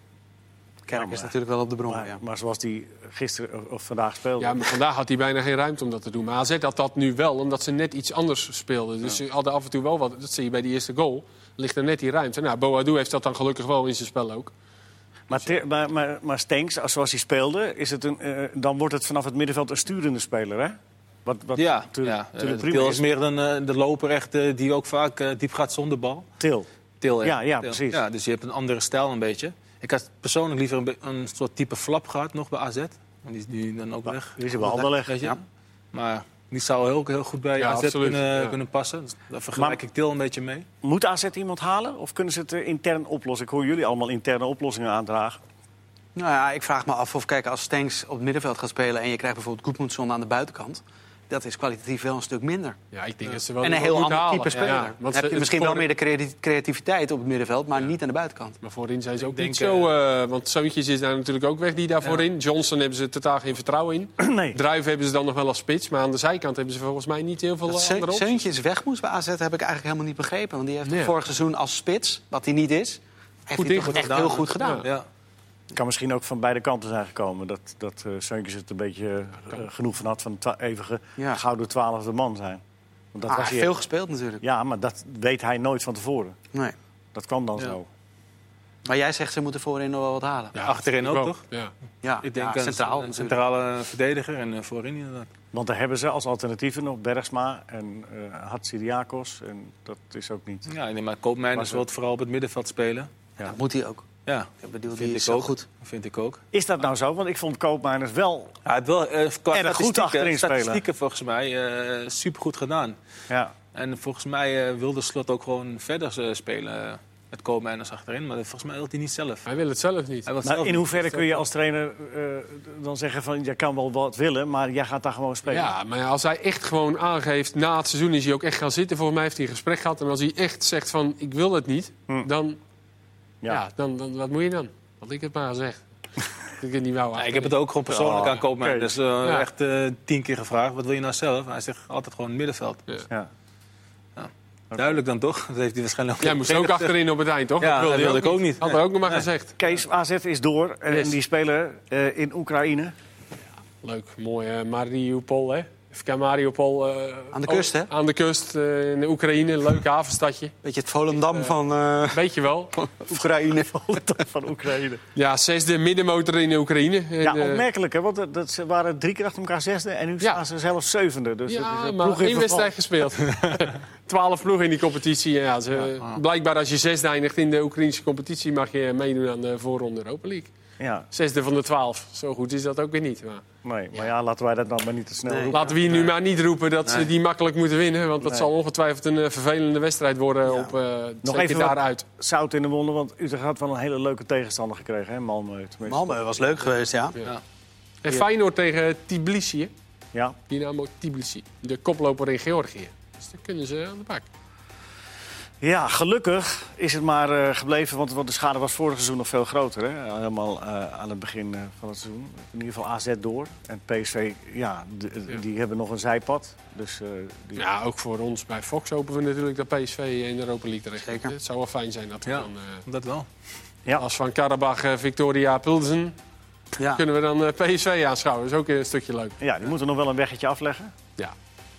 E: Kerk is natuurlijk wel op de bron.
A: maar,
E: ja.
A: maar zoals die gisteren eh, of vandaag speelde.
D: Ja, maar vandaag had hij bijna geen ruimte om dat te doen. Maar AZ had dat nu wel, omdat ze net iets anders speelden. Dus ze hadden af en toe wel wat. Dat zie je bij die eerste goal. Ligt er net die ruimte. Nou, Boadu heeft dat dan gelukkig wel in zijn spel ook.
A: Maar, Ter- maar, maar, maar Stenks, als- zoals hij speelde, is het een, eh, dan wordt het vanaf het middenveld een sturende speler, hè? Wat, wat
C: Ja,
A: natuurlijk
C: ja.
A: natuurlijk
C: Eh,
A: prima
C: Til
A: is.
C: is meer dan eh, de loper echt, eh, die ook vaak eh, diep gaat zonder bal.
A: Til.
C: Til,
A: Ja, ja,
C: Til.
A: precies.
C: Ja, dus je hebt een andere stijl een beetje. Ik had persoonlijk liever een, be- een soort type flap gehad nog bij AZ. Want die is nu dan ook weg.
A: Die is in handen leggen.
C: Weet je? Maar die zou heel, heel goed bij
D: Ja,
C: AZ
D: absoluut,
C: kunnen,
D: ja.
C: kunnen passen. Dus daar vergelijk
A: Maar-
C: ik Til een beetje mee.
A: Moet AZ iemand halen of kunnen ze het eh, intern oplossen? Ik hoor jullie allemaal interne oplossingen aandragen.
E: Nou ja, ik vraag me af of kijk, als Stenks op het middenveld gaat spelen... en je krijgt bijvoorbeeld Goodmoedson aan de buitenkant... dat is kwalitatief wel een stuk minder.
D: Ja, ik denk dat ze wel
E: en een
D: iemand
E: heel ander
D: moeten halen.
E: type speler.
D: Ja,
E: Dan
D: want
E: heb
D: ze-
E: je
D: het
E: misschien wel
D: voor-
E: meer de creati- creativiteit op het middenveld... maar niet aan de buitenkant.
D: Maar voorin zijn ze ook
C: denk,
D: niet zo... eh, want Zoontjes is daar natuurlijk ook weg, die daar voorin. Johnson hebben ze totaal geen vertrouwen in.
A: nee.
D: Druif hebben ze dan nog wel als spits. Maar aan de zijkant hebben ze volgens mij niet heel veel
E: Dat
D: eh,
E: Seu-
D: andere opties.
E: Seuntjes weg moest bij AZ heb ik eigenlijk helemaal niet begrepen. Want die heeft
D: Nee.
E: vorig seizoen als spits, wat hij niet is... heeft hij
D: Goed
E: toch
D: ingevuld
E: echt
D: gedaan.
E: heel goed gedaan.
C: Ja.
A: Kan misschien ook van beide kanten zijn gekomen. Dat, dat eh Seuntjes het een beetje eh, genoeg van had van de twa- eeuwige
E: Ja.
A: gouden twaalfde man zijn. Want dat
E: Ah,
A: was hij-
E: veel gespeeld natuurlijk.
A: Ja, maar dat weet hij nooit van tevoren.
E: Nee.
A: Dat kwam dan
C: Ja.
A: zo.
E: Maar jij zegt ze moeten voorin nog wel wat halen. Ja,
C: Achterin ook,
D: Wel,
C: toch?
D: Ja.
C: Ik denk eh,
E: ja,
C: aan
E: centraal.
C: een
E: natuurlijk.
C: centrale verdediger en eh, voorin inderdaad.
A: Want daar hebben ze als alternatieven nog Bergsma en eh Hatsidiakos. En dat is ook niet...
C: Ja, ik denk maar Koopmijn
A: Maar
C: wil het vooral op het middenveld spelen.
A: Ja.
E: Dat moet hij ook.
C: Ja,
E: Ik bedoel,
C: Vind
E: die is
C: ik
E: zo
C: ook.
E: goed.
C: vind ik ook.
A: Is dat nou zo? Want ik vond Koopmeiners wel...
C: Hij heeft wel eh, qua
A: Erg goed achterin spelen.
C: statistieken, statistieken volgens mij eh supergoed gedaan.
A: Ja.
C: En volgens mij eh, wil de slot ook gewoon verder eh, spelen. met Koopman en achterin. Maar volgens mij wil hij niet zelf.
D: Hij wil het zelf niet.
C: Hij wil het
A: Maar
C: zelf
A: Nou, in
C: niet.
A: hoeverre kun je als trainer eh, dan zeggen van... je kan wel wat willen, maar jij gaat daar gewoon spelen.
D: Ja, maar als hij echt gewoon aangeeft, na het seizoen is hij ook echt gaan zitten. Volgens mij heeft hij een gesprek gehad. En als hij echt zegt van, ik wil het niet,
A: Hm.
D: dan, ja.
A: Ja.
D: dan, dan... Wat moet je dan? Want ik heb maar gezegd. dat ik het niet wou.
C: Ja, ik heb het ook gewoon persoonlijk
A: Ja,
C: aan Koopman.
A: Oh, oké.
C: Dus eh,
D: Ja.
C: echt eh, tien keer gevraagd, wat wil je nou zelf? Hij zegt altijd gewoon middenveld.
A: Ja.
C: Duidelijk dan toch? Dat heeft hij waarschijnlijk
D: Jij moest ook achterin op het eind, toch?
C: Ja,
D: Dat
C: dat
D: hij
C: wilde ik ook niet.
D: Had hij ook nog maar gezegd.
A: Kees, AZ is door en
D: Yes.
A: die spelen eh, in Oekraïne.
D: Leuk, mooi eh, Mariupol, hè? FK Mariupol. eh,
E: Aan de kust,
D: oh,
E: hè?
D: Aan de kust eh, in de Oekraïne, een leuk havenstadje.
E: Beetje het Volendam van eh,
D: Weet je wel.
E: Oekraïne.
A: van Oekraïne.
D: Ja, zesde middenmotor in de Oekraïne. En,
A: Ja,
D: eh,
A: opmerkelijk, hè? Want dat- dat, ze waren drie keer achter elkaar zesde en nu
D: Ja.
A: staan ze zelfs zevende. Dus het is
D: ja,
A: een
D: maar
A: ploeg in
D: één wedstrijd gespeeld. Twaalf ploegen in die competitie. Ja, ze, Blijkbaar als je zesde eindigt in de Oekraïnse competitie... mag je meedoen aan de voorronde Europa League.
A: verval. Ja,
D: Zesde van de twaalf. Zo goed is dat ook weer niet. Maar
A: nee, maar ja, laten wij dat nou maar niet te snel roepen.
D: laten we hier nu maar niet roepen dat ze die makkelijk moeten winnen. Want dat zal ongetwijfeld een eh, vervelende wedstrijd worden op eh
A: Nog
D: zeker
A: even wat-
D: daaruit.
A: Zout in de wonden, want Utrecht had wel een hele leuke tegenstander gekregen, hè? Malmö tenminste.
E: Malmö was leuk geweest, ja.
D: En Feyenoord tegen Tbilisi, hè?
A: Ja,
D: Dynamo Tbilisi. De koploper in Georgië. Dus dan kunnen ze aan de bak.
A: Ja, gelukkig is het maar eh, gebleven, want, want de schade was vorig seizoen nog veel groter. Hè? Helemaal eh, aan het begin eh, van het seizoen. In ieder geval AZ door. En PSV, ja, d-
D: Ja.
A: die hebben nog een zijpad. Dus, eh, die...
D: Ja, ook voor ons bij Fox hopen we natuurlijk dat PSV in de Europa League terecht komt.
E: Zeker.
D: Het zou wel fijn zijn dat we
C: Ja.
D: dan... eh,
C: Dat wel.
A: Ja.
D: als van Karabach, eh, Victoria, Pilsen...
E: ja.
D: kunnen we dan eh, PSV aanschouwen. Dat is ook een stukje leuk.
A: ja, die moeten nog wel een weggetje afleggen.
D: Ja.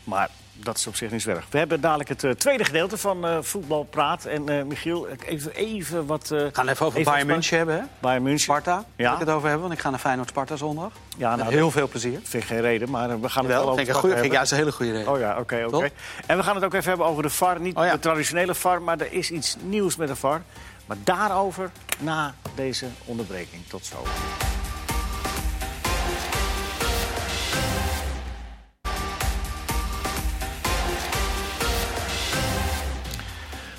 A: Maar dat is op zich niet zo erg. We hebben dadelijk het eh, tweede gedeelte van eh, Voetbal Praat. En eh, Michiel, ik- even, even wat eh
E: We gaan het even over
A: Even
E: Bayern
A: Sparta.
E: München hebben, hè?
A: bij München.
E: Sparta, wil
A: Ja.
E: ik het over hebben, want ik ga naar Feyenoord Sparta zondag.
A: Ja,
E: Met
A: nou,
E: heel veel plezier.
A: dat vind ik geen reden, maar eh, we gaan het
E: Wel,
A: wel over
E: vind ik een
A: Sparta
E: goede, vind ik
A: hebben.
E: juist een hele goede reden.
A: Oh ja, oké, oké.
E: Toch?
A: En we gaan het ook even hebben over de VAR. Niet
E: Oh ja.
A: de traditionele VAR, maar er is iets nieuws met de VAR. Maar daarover na deze onderbreking. Tot zo.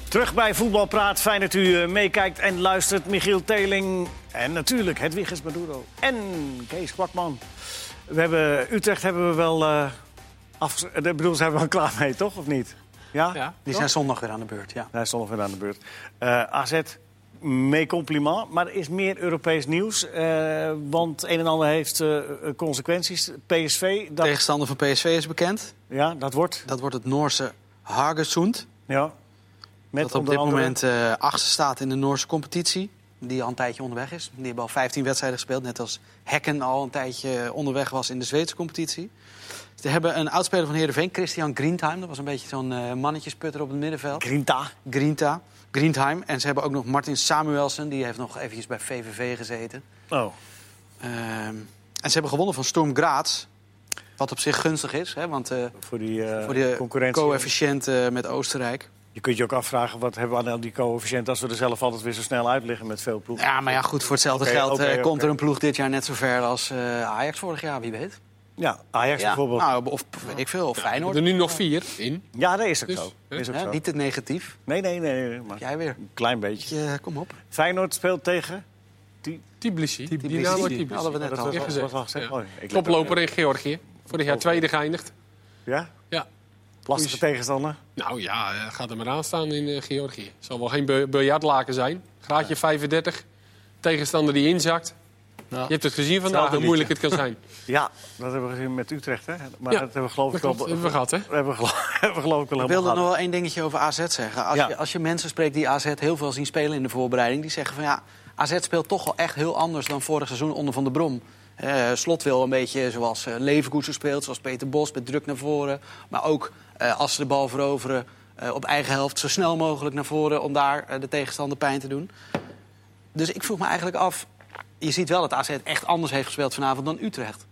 A: Terug bij Voetbalpraat. Fijn dat u eh, meekijkt en luistert. Michiel Teling en natuurlijk Hedwiges Maduro en Kees Kwakman. We hebben, Utrecht hebben we wel... eh, Af, ik bedoel, zijn we wel klaar mee, toch? Of niet? Ja?
D: Ja.
E: Die zijn zondag weer aan de beurt, ja.
A: Daar is nog weer aan de beurt. Eh, AZ, mee compliment. Maar er is meer Europees nieuws. eh, want een en ander heeft eh, consequenties. PSV, dat,
E: Tegenstander van PSV is bekend.
A: ja, dat wordt.
E: Dat wordt het Noorse Hagersund.
A: Ja. Met
E: dat op
A: onder
E: dit
A: andere-
E: moment eh achtste staat in de Noorse competitie. Die al een tijdje onderweg is. Die hebben al 15 wedstrijden gespeeld. Net als Hekken al een tijdje eh, onderweg was in de Zweedse competitie. Ze hebben een oudspeler van Heerenveen, Christian Greentheim. Dat was een beetje zo'n eh, mannetjesputter op het middenveld.
A: Grinta.
E: Grinta, Greentheim. En ze hebben ook nog Martin Samuelsen. Die heeft nog eventjes bij VVV gezeten.
A: Oh.
E: Ehm, en ze hebben gewonnen van Storm Graz. Wat op zich gunstig is, hè, want eh,
A: Voor die, eh,
E: voor de
A: concurrentie.
E: coëfficiënt eh, met Oostenrijk.
A: Je kunt je ook afvragen, wat hebben we aan die coëfficiënt... als we er zelf altijd weer zo snel uit liggen met veel ploegen.
E: Ja, maar ja, goed, voor hetzelfde
A: Oké,
E: geld
A: oké,
E: eh,
A: oké.
E: komt er een ploeg dit jaar net zo ver als eh, Ajax vorig jaar, wie weet.
A: Ja, Ajax
E: Ja.
A: bijvoorbeeld.
E: Nou, of weet ik veel, of
D: We
E: Feyenoord.
D: hebben er nu nog vier in.
A: Ja, dat is ook
D: Dus,
A: zo.
D: hè?
A: Is ook
E: Hè,
A: zo.
E: niet het negatief.
A: Nee, nee, nee. nee, Maar
E: Jij weer.
A: een klein beetje.
E: Je, eh, kom op.
A: Feyenoord speelt tegen...
D: Tbilisi.
E: Tbilisi.
D: Dynamo
E: Ja, Hadden
D: Tbilisi.
E: we net
A: dat
E: al.
A: was,
D: Ja,
A: al-
D: gezegd.
A: was al gezegd.
D: Ja.
A: Oh, ik let ook
D: Koploper
A: niet.
D: in Georgië. Vorig jaar tweede geëindigd.
A: Ja?
D: Ja.
A: Lastige
D: Oei.
A: tegenstander.
D: Nou ja, eh, gaat er maar aan staan in eh, Georgië. Zal wel geen bi- biljartlaken zijn. Graadje 35. Tegenstander die inzakt.
C: Ja.
D: Je hebt het gezien vandaag hoe
C: liedje.
D: moeilijk het kan zijn.
A: Ja, dat hebben we gezien met Utrecht, hè? Maar
D: Ja,
A: dat hebben we geloof ik
D: Dat
A: wel...
D: klopt, hebben eh, we gehad, hè?
A: hebben we geloof, hebben we geloof ik wel helemaal
E: Ik wilde nog
A: gehad.
E: wel één dingetje over AZ zeggen. Als,
A: Ja.
E: je, als je mensen spreekt die AZ heel veel zien spelen in de voorbereiding... die zeggen van ja, AZ speelt toch wel echt heel anders dan vorig seizoen onder Van der Brom. Eh, Slot wil een beetje zoals eh Leverkusen speelt, zoals Peter Bos... met druk naar voren, maar ook eh, als ze de bal veroveren... eh, op eigen helft zo snel mogelijk naar voren om daar eh, de tegenstander pijn te doen. Dus ik vroeg me eigenlijk af... je ziet wel dat AZ echt anders heeft gespeeld vanavond dan Utrecht.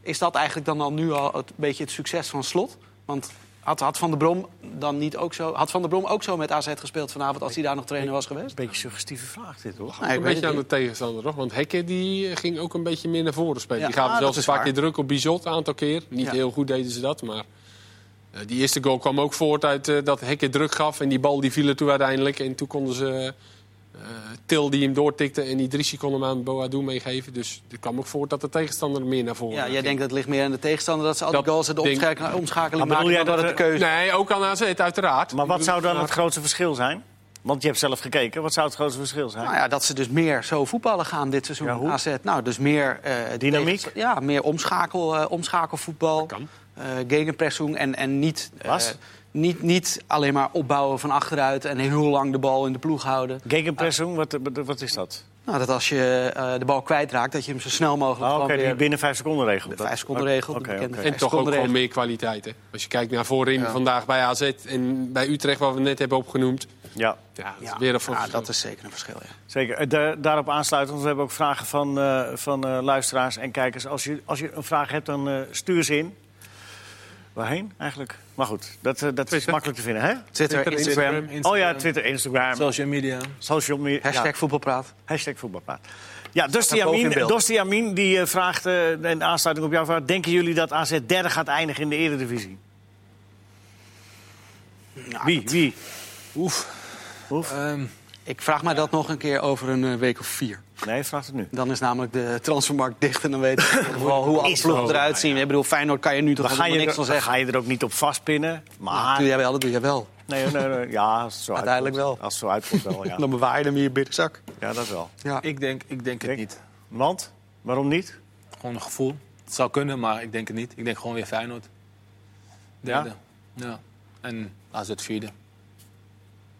E: Is dat eigenlijk dan al nu al het beetje het succes van Slot? Want had, had Van der Brom dan niet ook zo... Had Van der Brom ook zo met AZ gespeeld vanavond als hij daar nog trainer was geweest?
A: Een beetje suggestieve vraag dit, hoor.
E: Nee, Nou, ik
D: een
E: weet het
D: beetje aan
E: niet.
D: de tegenstander, toch? Want Hekken die eh, ging ook een beetje meer naar voren spelen.
E: Ja,
D: die gaven
E: ah, dat
D: zelfs
E: is
D: een paar
E: waar.
D: keer druk op Bizot, een aantal keer. Niet
E: Ja.
D: heel goed deden ze dat, maar... eh, Eh, die eerste goal kwam ook voort uit eh, dat Hekken druk gaf. En die bal die viel er toe uiteindelijk. En toen konden ze eh, Til die hem doortikte. En Idrissi kon hem aan Boadu meegeven. Dus er kwam ook voort dat de tegenstander meer naar voren
E: Ja, jij
D: ging.
E: denkt dat het ligt meer aan de tegenstander... dat ze al
D: Dat
E: die goals en de
D: denk-
E: omschakeling, omschakeling
A: Maar bedoel
E: maken
A: jij
E: dan dat
A: dat
E: het de
A: er-
E: keuze...
D: Nee, ook aan AZ uiteraard.
A: Maar wat zou dan het
D: Maar-
A: grootste verschil zijn? Want je hebt zelf gekeken. Wat zou het grootste verschil zijn?
E: Nou ja, dat ze dus meer zo voetballen gaan dit seizoen.
A: Ja, hoe?
E: AZ, nou, dus meer... eh,
A: Dynamiek?
E: tegen- ja, meer omschakel, eh, omschakelvoetbal.
D: kan.
E: eh, gegenpressing en, en niet, eh,
A: Was?
E: niet, niet alleen maar opbouwen van achteruit... en heel lang de bal in de ploeg houden.
A: Gegenpressing, wat, wat- wat is dat?
E: Nou, dat als je eh, de bal kwijtraakt, dat je hem zo snel mogelijk...
A: Oh, Oké,
E: gewoon
A: die
E: weer-
A: binnen vijf seconden regel.
E: De
A: Dat-
E: vijf seconden regel, de
A: Oké,
E: bekende
A: oké.
E: vijf
D: En toch ook
E: seconden
D: gewoon
E: regel.
D: meer kwaliteit. Hè? Als je kijkt naar voorin vandaag bij AZ en bij Utrecht, wat we net hebben opgenoemd.
A: Ja,
D: Ja, dat is
E: Ja,
D: weer een
E: ja,
D: verschil.
E: dat is zeker een verschil, ja.
A: zeker. Eh, daar- daarop aansluitend, want we hebben ook vragen van, eh, van eh, luisteraars en kijkers. Als je, als je een vraag hebt, dan eh, stuur ze in. Waarheen eigenlijk? Maar goed, dat, eh, dat is
D: Twitter.
A: makkelijk te vinden, hè?
E: Twitter,
C: Twitter,
E: Instagram,
C: Instagram, Instagram,
A: Oh ja, Twitter, Instagram,
C: social media.
A: social media.
E: hashtag
A: ja.
E: voetbalpraat.
A: Hashtag voetbalpraat. Ja, Dosti
E: staat boven
A: Amin,
E: in beeld.
A: Dosti Amin die eh, vraagt, eh in aansluiting op jouw vraag... denken jullie dat AZ derde gaat eindigen in de Eredivisie?
E: Nou,
A: Wie? Wie?
C: Oef.
A: Hoef?
C: Ehm,
E: Ik vraag mij dat nog een keer over een eh, week of vier.
A: Nee, vraagt het nu.
E: Dan is namelijk de transfermarkt dicht en dan weet ik in ieder geval hoe alle
A: Is
E: ploegen
A: zo.
E: eruit zien. Ik bedoel, Feyenoord kan je nu
A: Dan
E: toch
A: ga
E: helemaal
A: je,
E: niks
A: er,
E: van
A: dan
E: zeggen.
A: ga je er ook niet op vastpinnen.
E: Dat
A: Maar...
E: doe jij wel, dat doe jij wel.
A: Nee, nee, nee, ja, als het zo
E: Uiteindelijk
A: uitkomt.
E: wel.
A: Als het zo uitkomt wel, ja.
E: Dan bewaar je hem in je binnenzak.
A: ja dat wel.
E: Ja.
C: ik, denk, ik denk het
A: Denk-
C: niet.
A: Want? Waarom niet?
C: Gewoon een gevoel. Het zou kunnen, maar ik denk het niet. Ik denk gewoon weer Feyenoord. Derde. Ja. En AZ vierde.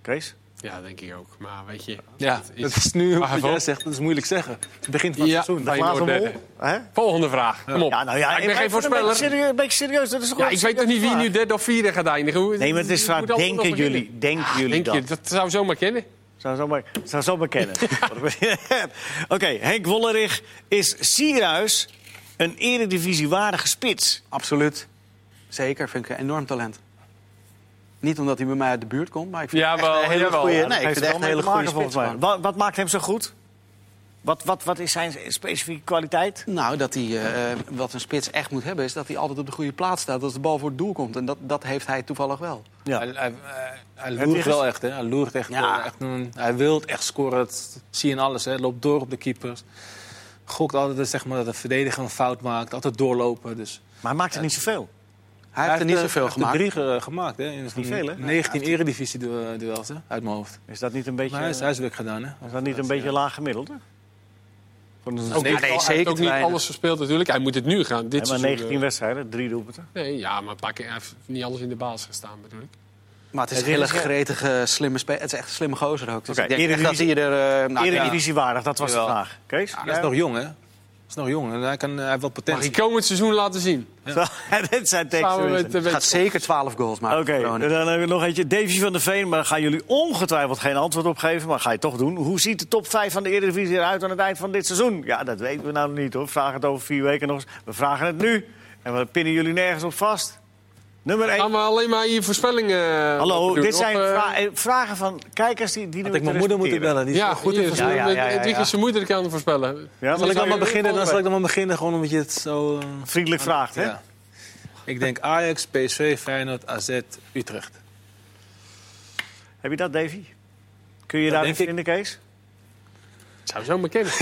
A: Kees?
D: Ja, denk ik ook. Maar weet je,
C: Ja,
D: is-
C: dat is nu wat
D: Waarvan?
C: jij zegt. Dat is moeilijk zeggen. Het begint van het
D: Ja.
C: seizoen.
D: Bij
A: glazen
D: Noord-
A: bol? Hè?
D: volgende vraag. Kom op.
A: Ja, nou ja,
D: ik ben geen
A: even Een
D: voorspeller.
A: beetje serieus, een beetje serieus, dat is toch
D: Ja,
A: wel
D: ik weet nog niet wie
A: serieus
D: nu derde of vierde gaat eindigen. Hoe-
A: Nee, maar het is
D: hoe
A: vaak,
D: moet dat
A: denken
D: nog beginnen? Ah,
A: jullie, denken jullie
D: Denk
A: dat?
D: je, dat zou zomaar kennen.
A: Zou zo maar, zou zo maar kennen. Oké, Henk Wollerich is Sierhuis een eredivisiewaardige spits.
E: Absoluut. Zeker, vind ik een enorm talent. Niet omdat hij bij mij uit de buurt komt, maar ik vind
D: Ja,
E: het echt
D: wel,
E: een hele
D: jawel.
E: goede...
D: Ja,
E: Nee, ik vind
A: Heeft
E: het
A: er
E: echt
A: wel
E: een
A: mee
E: hele
A: te
E: goede
A: maken,
E: spits,
A: volgens mij.
E: man.
A: Wat, wat maakt hem zo goed? Wat, wat, wat is zijn specifieke kwaliteit?
E: Nou, dat hij, eh, eh, wat een spits echt moet hebben, is dat hij altijd op de goede plaats staat als de bal voor het doel komt. En dat, dat heeft hij toevallig wel.
A: Ja.
C: Hij, hij, hij- hij
A: je
C: loert
A: gezien?
C: wel echt, hè? Hij loert echt.
E: Ja.
C: eh, echt een- hij wil echt scoren. Dat zie je in alles, hè? Loopt door op de keepers. Gokt altijd dat, zeg maar, dat de verdediger een fout maakt. Altijd doorlopen. Dus.
A: Maar hij maakt er niet zoveel.
E: Hij, heeft er niet
C: eh,
E: zoveel
C: heeft er
E: gemaakt.
C: drie eh, gemaakt, hè? In
A: niet veel, hè?
C: 19 eredivisie-duels, hè? Uit mijn hoofd.
A: Is dat niet een beetje,
C: Maar hij is huiswerk gedaan, hè?
A: is dat niet een beetje laag gemiddeld? hè? Voor een-
C: Ook
A: Nee,
E: nee,
D: hij heeft
E: zeker
D: ook niet
E: weinig.
D: alles gespeeld natuurlijk. Hij moet het nu gaan. Dit
A: maar
D: seizoen,
A: 19 wedstrijden, drie doelpunten.
D: eh, Nee, ja, maar pak, hij heeft niet alles in de baas gestaan bedoel ik.
E: Maar het is
A: Het
E: een hele
A: is, eh,
E: gretige, slimme speler. Het is echt een slimme gozer ook. Dus
A: Oké,
E: ik denk echt dat
A: Eredivisie-
E: hij er... eh, nou, ja.
A: Eredivisiewaardig, dat was de
C: Jawel.
A: vraag. Kees?
C: Hij is nog jong, hè? Hij is nog jong en hij, kan, hij heeft wel
D: Mag
C: potentie.
D: ik komend seizoen laten zien?
A: Dit zijn
D: Samen
A: teksten.
D: met,
E: Hij
D: met-
E: gaat zeker 12 goals maken.
A: Oké,
E: Verona.
A: dan hebben we nog eentje. Davy van der Veen, maar daar gaan jullie ongetwijfeld geen antwoord op geven. Maar ga je toch doen. Hoe ziet de top 5 van de Eredivisie eruit aan het eind van dit seizoen? Ja, dat weten we nou nog niet hoor. We vragen het over vier weken nog eens. We vragen het nu. En we pinnen jullie nergens op vast. Nummer 1.
D: Gaan we alleen maar hier voorspellingen
A: Hallo,
D: over doen,
A: dit
D: of,
A: zijn
D: eh,
A: vra- eh, vragen van kijkers die, die
C: Had
A: nu
C: ik mijn moeder moeten bellen. Die is
D: Ja,
C: wel goed
D: goed.
C: in
A: Ja, ja, ja, ja,
D: Edwin
A: ja.
D: zijn moeder kan voorspellen.
A: Ja,
C: Zal
A: maar
C: ik dan
A: ik
C: maar
D: jullie
C: beginnen? Dan
D: volgen.
C: zal ik dan maar beginnen, gewoon omdat je het zo... eh,
A: vriendelijk vraagt, hè?
C: ja. Ik denk Ajax, PSV, Feyenoord, AZ, Utrecht.
A: Heb je dat, Davy? Kun je daar
C: denk
A: iets in de Kees?
D: Het zou zomaar kennen.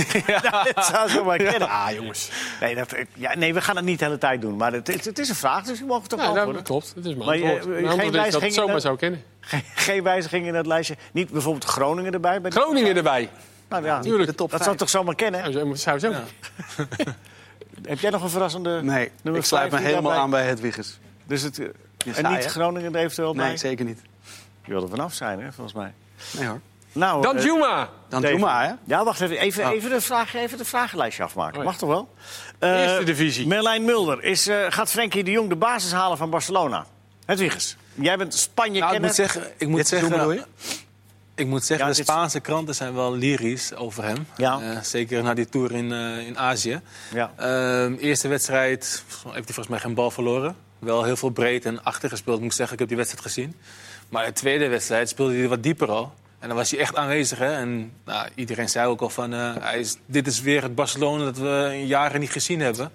A: Dat zou zo maar kennen.
D: Ah, jongens.
A: Nee, dat, eh, ja, nee, we gaan het niet de hele tijd doen. Maar het, is- het is een vraag, dus je mag het ook
D: Ja, nou,
A: antwoorden.
D: dat klopt. Het is mijn
A: Maar je-
D: antwoord.
A: eh,
D: Mijn
A: geen
D: antwoord is dat
A: wijzigingen
D: het zomaar
A: dan?
D: zou kennen.
A: Geen, geen wijziging in dat lijstje. Niet bijvoorbeeld Groningen erbij. Bij die-
D: Groningen erbij.
A: nou, ja,
D: tuurlijk.
A: de
D: top
A: dat
D: vijf.
A: zou toch zomaar kennen?
D: Zou zo- Zou zo.
A: Heb jij nog een verrassende
E: Nee,
A: nummer
E: ik sluit
A: vijf
E: me
A: die
E: helemaal
A: daarbij-
E: aan bij Hedwiges.
A: Dus het, eh, en
E: saai,
A: niet
E: hè?
A: Groningen er eventueel
E: Nee,
A: bij?
E: zeker niet.
A: Je wil er vanaf zijn, hè, volgens mij.
E: Nee hoor.
A: Nou,
D: Dan
A: eh,
D: Juma.
E: Dan
A: Dave.
E: doe maar, hè.
A: Ja, wacht even. Even,
E: Oh.
A: even, de, vraag, even de vragenlijstje afmaken.
D: Oh, ja.
A: Mag toch wel? Eh,
D: Eerste divisie.
A: Merlijn Mulder. Is, eh, gaat Frenkie de Jong de basis halen van Barcelona? Hedwiges, jij bent Spanje
C: Nou, ik
A: kenner.
C: moet zeggen, ik moet
E: Dit seizoen bedoel je?
C: zeggen, ik moet zeggen
A: Ja,
C: de
A: dit-
C: Spaanse kranten zijn wel lyrisch over hem.
A: Ja.
C: Eh, zeker na die tour in, eh, in Azië.
A: Ja.
C: Ehm, eerste wedstrijd heeft hij volgens mij geen bal verloren. Wel heel veel breed en achter gespeeld, moet ik zeggen. Ik heb die wedstrijd gezien. Maar de tweede wedstrijd speelde hij wat dieper al. En dan was hij echt aanwezig. Hè? En nou, iedereen zei ook al van, eh, hij is, dit is weer het Barcelona dat we in jaren niet gezien hebben.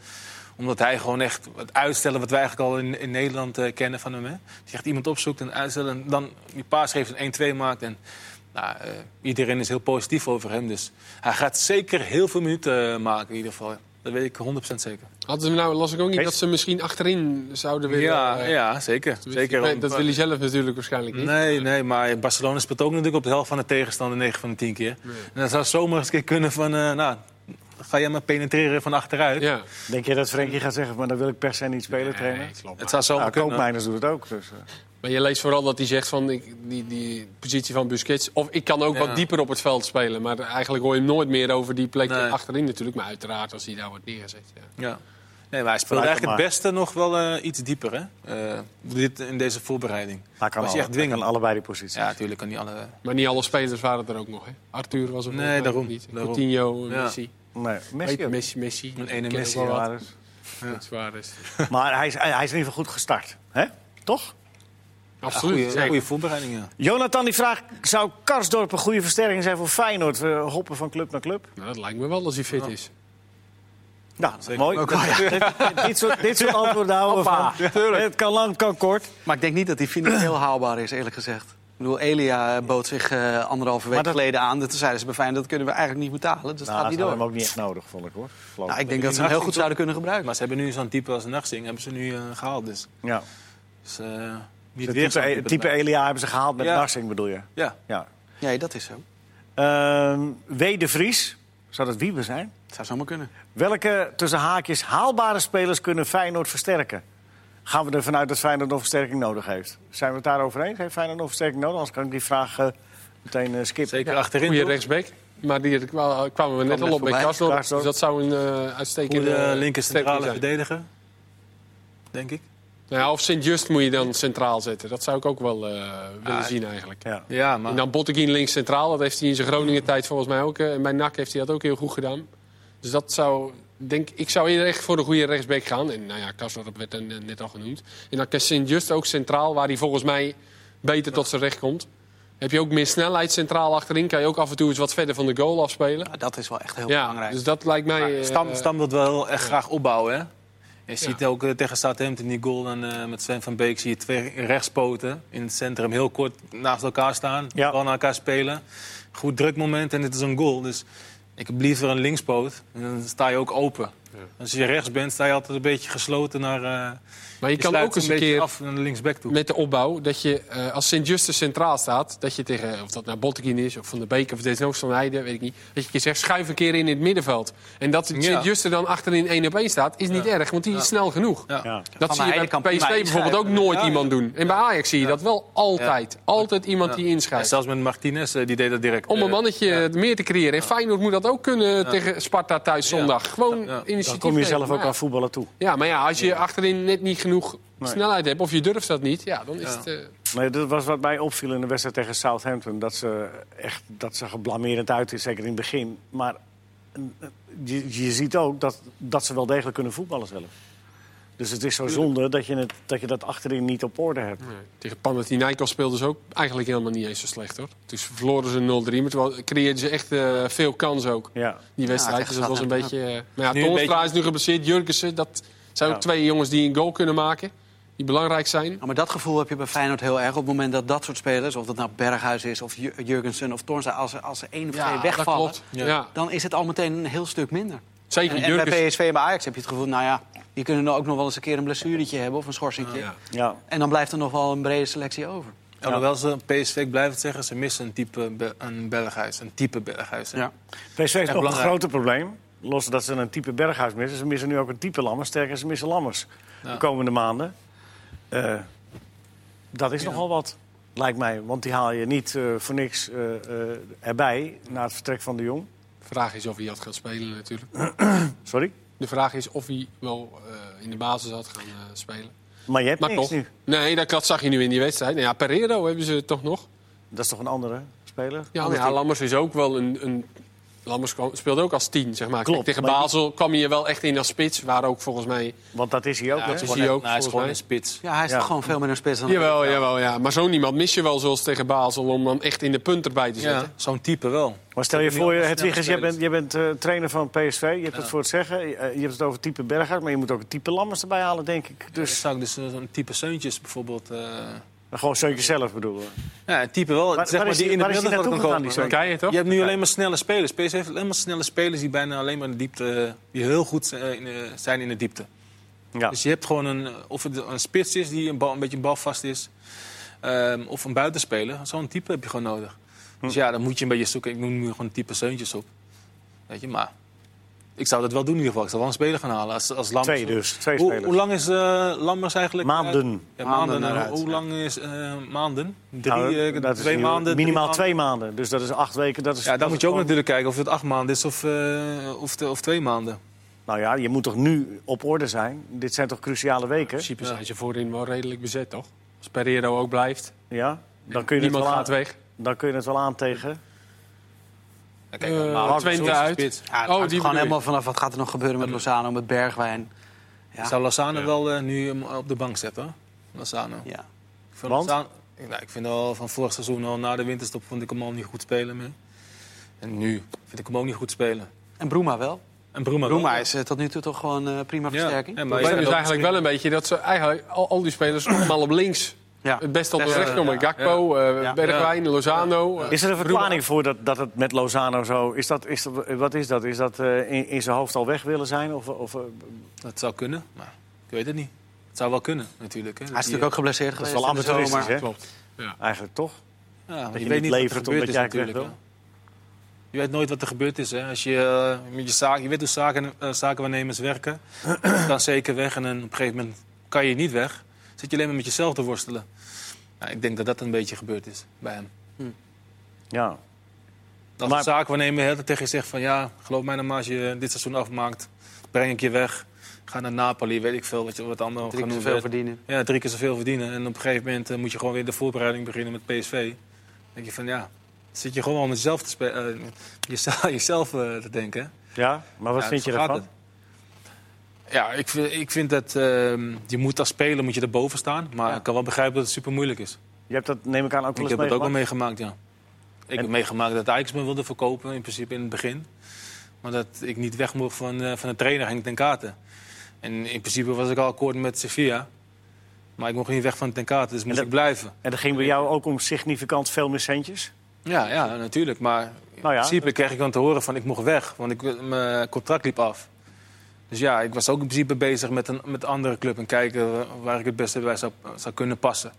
C: Omdat hij gewoon echt het uitstellen wat wij eigenlijk al in, in Nederland eh, kennen van hem. Hè? Dat je echt iemand opzoekt en uitstellen. En dan die paas geeft en 1-2 maakt. En, nou, eh, iedereen is heel positief over hem. Dus hij gaat zeker heel veel minuten eh, maken in ieder geval. Dat weet ik 100% zeker.
D: Hadden ze nou, las ik ook niet
A: Kees?
D: dat ze misschien achterin zouden willen.
C: Ja,
D: eh,
C: ja zeker.
D: dat-
C: zeker
D: nee,
C: om-
D: dat wil hij zelf natuurlijk waarschijnlijk niet.
C: Nee, nee, maar Barcelona speelt ook natuurlijk op de helft van de tegenstander 9 van de 10 keer. En dat zou zomaar eens een keer kunnen van, eh, nou, ga jij maar penetreren van achteruit.
D: Ja.
A: Denk je dat Frenkie gaat zeggen, maar dan wil ik per se niet spelen trainen?
C: Het zou zomaar
A: Nou,
C: kunnen.
A: koopmijners doet het ook. Dus, eh.
D: Maar je leest vooral dat hij zegt van ik, die, die positie van Busquets. Of ik kan ook
C: Ja.
D: wat dieper op het veld spelen. Maar eigenlijk hoor je hem nooit meer over die plek
C: Nee.
D: achterin natuurlijk. Maar uiteraard als hij daar wordt neergezet. Ja.
C: Ja. Nee, maar hij speelde
A: Vanuit
C: eigenlijk
A: de
C: het beste nog wel eh, iets dieper, hè? Eh, dit, in deze voorbereiding.
A: Hij kan,
C: Was
A: al,
C: je echt dwingend?
A: hij kan allebei die posities.
C: Ja, natuurlijk kan niet alle... eh,
D: Maar niet alle spelers waren er ook nog. Hè? Arthur was er
C: Nee,
D: volgens mij
C: daarom,
D: ook niet.
C: daarom.
D: Coutinho, eh,
C: Ja.
D: Messi.
A: Nee, Messi
D: Weet-
A: ook.
D: Messi, Messi.
C: Een ene
D: Ik ken
C: Messi,
D: ook wel
A: Ja,
D: wat.
A: dus-
D: Dat is waar, dus.
A: Maar hij is, hij hij is in ieder geval goed gestart. Hè? Toch?
D: Absoluut. zeker.
C: Goede voorbereiding, ja.
A: Jonathan die vraagt, zou Karsdorp een goede versterking zijn voor Feyenoord? We hoppen van club naar club.
D: Nou, dat lijkt me wel als hij fit is.
A: Nou,
C: zeker.
A: mooi. dit, soort, dit soort antwoorden houden we
E: Hoppa.
A: van. Het kan lang, het kan kort.
E: Maar ik denk niet dat hij financieel haalbaar is, eerlijk gezegd. Ik bedoel, Elia eh, bood zich eh, anderhalve week
A: Maar dat-
E: geleden aan. Toen zeiden ze bij Feyenoord, dat kunnen we eigenlijk niet betalen. Dus dat
A: Nou,
E: gaat
A: dat
E: niet
A: had
E: door.
A: hem ook niet echt nodig, vond ik hoor. Geloof
E: Nou,
A: ik.
E: ik denk dat ze hem heel goed zouden kunnen gebruiken.
C: Maar ze hebben nu zo'n type als Nachtsing, hebben ze nu eh, gehaald. Dus,
A: Ja.
C: dus eh, niet
A: Het
C: weer
A: type,
C: zo'n
A: het type
C: erbij.
A: Elia hebben ze gehaald met
C: Ja.
A: Narsing, bedoel je?
C: Ja,
A: Ja.
E: Nee, dat is zo.
A: Ehm, w. de Vries, zou dat Wiebe zijn?
E: Het zou zomaar kunnen.
A: Welke tussen haakjes haalbare spelers kunnen Feyenoord versterken? Gaan we ervan uit dat Feyenoord nog versterking nodig heeft? Zijn we het daarover eens? Heeft Feyenoord nog versterking nodig? Anders kan ik die vraag eh, meteen eh skippen.
C: zeker achterin.
D: Goede
C: toch?
D: rechtsback. Maar die kwa- kwamen we net
E: net
D: al op bij
E: voorbij.
D: Karsdorp. Dus
A: Karsdorp.
D: dat zou een eh uitstekende...
C: Goede
D: eh,
C: linker centrale
D: sterker zijn.
C: verdediger. Denk ik.
D: Nou ja, of Sint-Just moet je dan centraal zetten. Dat zou ik ook wel eh, willen zien eigenlijk.
A: Ja.
C: Ja,
D: En
C: maar
D: dan Botteguin links centraal. Dat heeft hij in zijn Groningen tijd volgens mij ook. eh, en bij NAC heeft hij dat ook heel goed gedaan. Dus dat zou... Denk, ik zou eerder echt voor de goede rechtsback gaan. En nou ja, Karsdorp werd dan, eh, net al genoemd. En dan kan Sint-Just ook centraal, waar hij volgens mij beter tot zijn recht komt. Heb je ook meer snelheid centraal achterin. Kan je ook af en toe eens wat verder van de goal afspelen.
E: Nou, dat is wel echt heel
D: Ja,
E: belangrijk.
D: dus dat lijkt mij... eh,
C: Stam, Stam wil het wel heel erg graag opbouwen, hè? Je ziet
D: Ja.
C: ook eh, tegen Southampton die goal en, eh, met Sven van Beek. Zie je twee rechtspoten in het centrum heel kort naast elkaar staan.
A: Ja.
C: Bal naar elkaar spelen. Goed drukmoment en dit is een goal. Dus ik heb liever een linkspoot. En dan sta je ook open. Als je rechts bent, sta je altijd een beetje gesloten naar... eh
D: maar je, kan
C: sluit
D: ook eens
C: een
D: een
C: beetje
D: keer
C: af naar de linksback toe.
D: met de opbouw dat je eh, als Sint-Justus centraal staat, dat je tegen, of dat nou Botteguin is, of Van der Beek, of desnoods Van Heijden, weet ik niet, dat je een keer zegt, schuif een keer in het middenveld. En dat Sint-Justus dan achterin 1 op 1 staat, is niet erg, want die is snel genoeg.
C: Ja.
A: Ja.
D: Dat zie
E: Heijden kan
D: je bij PSV
E: prima
D: bijvoorbeeld ook nooit iemand doen. En bij Ajax zie je dat wel altijd. Altijd iemand die
C: En
D: inschrijft.
C: zelfs met Martinez, eh, die deed dat direct.
D: Om een
C: Eh,
D: mannetje
C: ja.
D: meer te creëren. En Feyenoord moet dat ook kunnen tegen Sparta thuis zondag. Gewoon
C: Dan
D: initiatief
A: Dan kom je
D: nemen.
A: zelf ook
D: Maar
A: aan voetballen toe.
D: Ja, maar ja, als je achterin net niet genoeg snelheid hebt... of je durft dat niet, ja, dan is het... eh,
A: Nee, dat was wat mij opviel in de wedstrijd tegen Southampton. Dat ze echt dat ze geblamerend uit is, zeker in het begin. Maar eh, je, je ziet ook dat, dat ze wel degelijk kunnen voetballen zelf. Dus het is zo zonde dat je, het, dat, je dat achterin niet op orde hebt.
D: Nee. Tegen Panathinaikos speelden ze ook eigenlijk helemaal niet eens zo slecht hoor. Dus verloren ze 0-3, maar terwijl creëerden ze echt eh, veel kans ook.
A: Ja.
D: Die wedstrijd,
E: tegen
D: dus dat was een
E: Southampton
D: beetje... eh, maar
C: Nu
D: ja,
C: een
D: Toornstra
C: beetje-
D: is nu geblesseerd, Jurkensen. Dat zijn
A: Ja.
D: ook twee jongens die een goal kunnen maken. Die belangrijk zijn.
E: Nou, maar dat gevoel heb je bij Feyenoord heel erg. Op het moment dat dat soort spelers, of dat nou Berghuis is of Ju- Jurgensen of Tornstra... als er, als er één of twee
D: dat
E: wegvallen,
D: klopt. Ja.
E: dan is het al meteen een heel stuk minder.
D: Zeker
E: En, en bij
D: Jurgensen.
E: PSV en bij Ajax heb je het gevoel, nou ja... die kunnen nou ook nog wel eens een keer een blessuretje hebben of een schorsingetje.
D: Ja.
A: Ja.
E: En dan blijft er nog wel een brede selectie over.
C: Alhoewel ze PSV, ik blijf het zeggen, ze missen een type Be- een Berghuis. Een type Berghuis. hè.
A: PSV heeft nog
C: belangrijk.
A: een groter probleem. Los dat ze een type Berghuis missen. Ze missen nu ook een type Lammers. Sterker, ze missen Lammers de komende maanden. Eh, dat is nogal wat, lijkt mij. Want die haal je niet eh, voor niks eh, eh, erbij na het vertrek van de Jong.
D: De vraag is of hij had gaan spelen natuurlijk.
A: Sorry?
D: De vraag is of hij wel eh, in de basis had gaan eh, spelen.
A: Maar je hebt
D: Maar
A: niks
D: toch.
A: nu.
D: Nee, dat, dat zag je nu in die wedstrijd. Nou ja, Pereiro hebben ze toch nog.
A: Dat is toch een andere speler?
D: Ja,
E: Anders
D: ja
E: die-
D: Lammers is ook wel een, een Lammers kwam- speelde ook als tien, zeg maar.
A: Klopt,
D: Kijk, tegen
A: maar die-
D: Basel kwam hij er wel echt in als spits. Waar ook volgens mij...
A: Want dat is hij ook. hè?
D: dat is
C: Gewoon
D: hij
C: echt-
D: ook,
C: nou, hij is
D: volgens
C: gewoon
D: mij.
C: een spits.
E: Ja, hij is
A: Ja.
E: toch gewoon veel meer een spits dan...
D: Jawel, jawel, ja. Maar zo'n iemand mis je wel zoals tegen Basel... om dan echt in de punt erbij te zetten.
C: Ja, zo'n type wel.
A: Maar stel je
C: Ik heb
A: voor,
C: nu al
A: Hedwiges, jij
C: snelle
A: bent, jij bent eh, trainer van PSV. Je hebt het voor het zeggen. Je, eh, je hebt het over type Berghuis, maar je moet ook het type Lammers erbij halen, denk ik.
C: Dus
A: Dus
C: zou ik dus eh, zo'n type Seuntjes bijvoorbeeld... eh,
A: gewoon Seuntje zelf bedoelen.
C: ja, een type wel,
A: Waar-
C: zeg
A: waar
C: maar,
A: is
C: die
A: die-
C: in de
A: waar is die
C: middenveld kan
A: naartoe gegaan, die
C: komen.
A: Seuntjes?
D: Kei je toch?
C: Je hebt nu alleen maar snelle spelers. PSV heeft alleen maar snelle spelers die bijna alleen maar in de diepte... eh, die heel goed zijn, eh, in, eh, zijn in de diepte.
A: Ja.
C: Dus je hebt gewoon een... eh, Of het een spits is die een, bal, een beetje balvast is. ehm, of een buitenspeler. Zo'n type heb je gewoon nodig. Dus ja, dan moet je een beetje zoeken. Ik noem nu gewoon type zeuntjes op. Weet je, maar... Ik zou dat wel doen in ieder geval. Ik zou wel een speler gaan halen. Als, als Lammers-
A: Twee dus, twee
C: Hoe,
A: spelers.
C: hoe lang is eh Lammers eigenlijk...
A: Maanden.
C: Ja,
E: Maanden
C: maanden.
E: eruit,
C: hoe, hoe
E: ja.
C: lang is eh, maanden? Drie,
A: Nou,
C: eh,
A: dat is
C: twee
A: nieuw.
C: maanden? drie
A: Minimaal
C: maanden?
A: twee maanden. Dus dat is acht weken. Dat is,
C: Ja,
A: dat
C: dan moet
A: is
C: je ook
A: gewoon-
C: natuurlijk kijken of het acht maanden is of, eh, of, te- of twee maanden.
A: Nou ja, je moet toch nu op orde zijn? Dit zijn toch cruciale weken?
D: In principe zijn ze voorin wel redelijk bezet, toch? Als Pereiro ook blijft.
A: Ja? Dan kun je, het
D: Niemand
A: wel aan,
D: gaat weg.
A: dan kun je het wel aan tegen.
C: Ja,
D: Eh,
C: Maurits
D: Twente
C: is een
D: uit.
C: spits.
E: Ja, het
D: Oh,
E: hangt
D: die
E: gewoon
D: bedoel
E: helemaal vanaf wat gaat er nog gebeuren met Lozano, met Bergwijn. Ja.
C: Zou Lozano wel eh, nu hem op de bank zetten? Lozano.
E: Ja.
C: Ik vind
A: Want?
C: Lozano- ik- nou, ik vind al van vorig seizoen al na de winterstop vond ik hem al niet goed spelen meer. En nu vind ik hem ook niet goed spelen.
E: En Bruma wel.
C: En Bruma.
E: Bruma
C: wel.
E: is eh, tot nu toe toch gewoon eh, prima
C: Ja,
E: versterking.
C: en
E: Ja,
D: Het
C: maar
D: probleem
C: hij
D: is
C: ook
D: eigenlijk wel een beetje dat ze eigenlijk al, al die spelers allemaal op links het beste op de
E: Best,
D: recht
E: eh,
D: komen.
E: ja.
D: Gakpo, eh,
E: Ja.
D: Bergwijn, Lozano. eh,
A: Is er een verklaring voor dat, dat het met Lozano zo... Is dat, is dat, wat is dat? Is dat eh, in, in zijn hoofd al weg willen zijn? Of, of, eh,
C: Dat zou kunnen, maar ik weet het niet. Het zou wel kunnen, natuurlijk. Hè.
E: Hij is natuurlijk ook geblesseerd
A: dat is
E: geweest.
A: wel
E: in de
A: amateuristisch,
E: zomer.
A: hè?
D: Klopt. Ja.
A: Eigenlijk toch?
C: Ja, want
A: Dat
C: je
A: je
C: weet
A: niet
C: niet
A: levert
C: wat er gebeurd is
A: omdat jij het
C: natuurlijk.
A: weg
C: hè. Je weet nooit wat er gebeurd is. Hè. Als je, eh, met je, zaak, je weet hoe zaken, eh, zakenwaarnemers werken. dan zeker weg en dan op een gegeven moment kan je niet weg. Zit je alleen maar met jezelf te worstelen. Nou, ik denk dat dat een beetje gebeurd is bij hem.
A: Ja.
C: Als
A: Maar-
C: een zakenwaarnemer heel tegen je zegt van... ja, geloof mij nou maar als je dit seizoen afmaakt... breng ik je weg, ga naar Napoli, weet ik veel. Wat, je- wat allemaal
E: Drie keer
C: genoemd
E: zoveel
C: werd.
E: verdienen.
C: Ja, drie keer zoveel verdienen. En op een gegeven moment eh, moet je gewoon weer de voorbereiding beginnen met PSV. Dan denk je van ja, zit je gewoon met jezelf te spe- eh, jezelf, jezelf eh, te denken.
A: ja, maar wat
C: Ja,
A: vind je
C: zo gaat
A: ervan?
C: het. Ja, ik vind, ik vind dat ehm, je moet als speler moet je erboven staan. Maar ik kan wel begrijpen dat het super moeilijk is.
A: Je hebt dat, neem ik aan, ook wel eens
C: ik heb het ook wel
A: meegemaakt.
C: meegemaakt, ja. Ik heb meegemaakt dat Ajax me wilde verkopen, in principe in het begin. Maar dat ik niet weg mocht van, eh, van de trainer Henk ten Katen. En in principe was ik al akkoord met Sevilla. Maar ik mocht niet weg van ten Katen, dus moest
A: dat-
C: ik blijven.
A: En dat ging bij jou ook om significant veel meer centjes?
C: Ja, ja, natuurlijk. Maar in
A: Nou ja.
C: principe kreeg ik dan te horen van ik mocht weg, want ik, mijn contract liep af. Dus ja, ik was ook in principe bezig met een met een andere club en kijken wa- waar ik het beste bij zou, zou kunnen passen.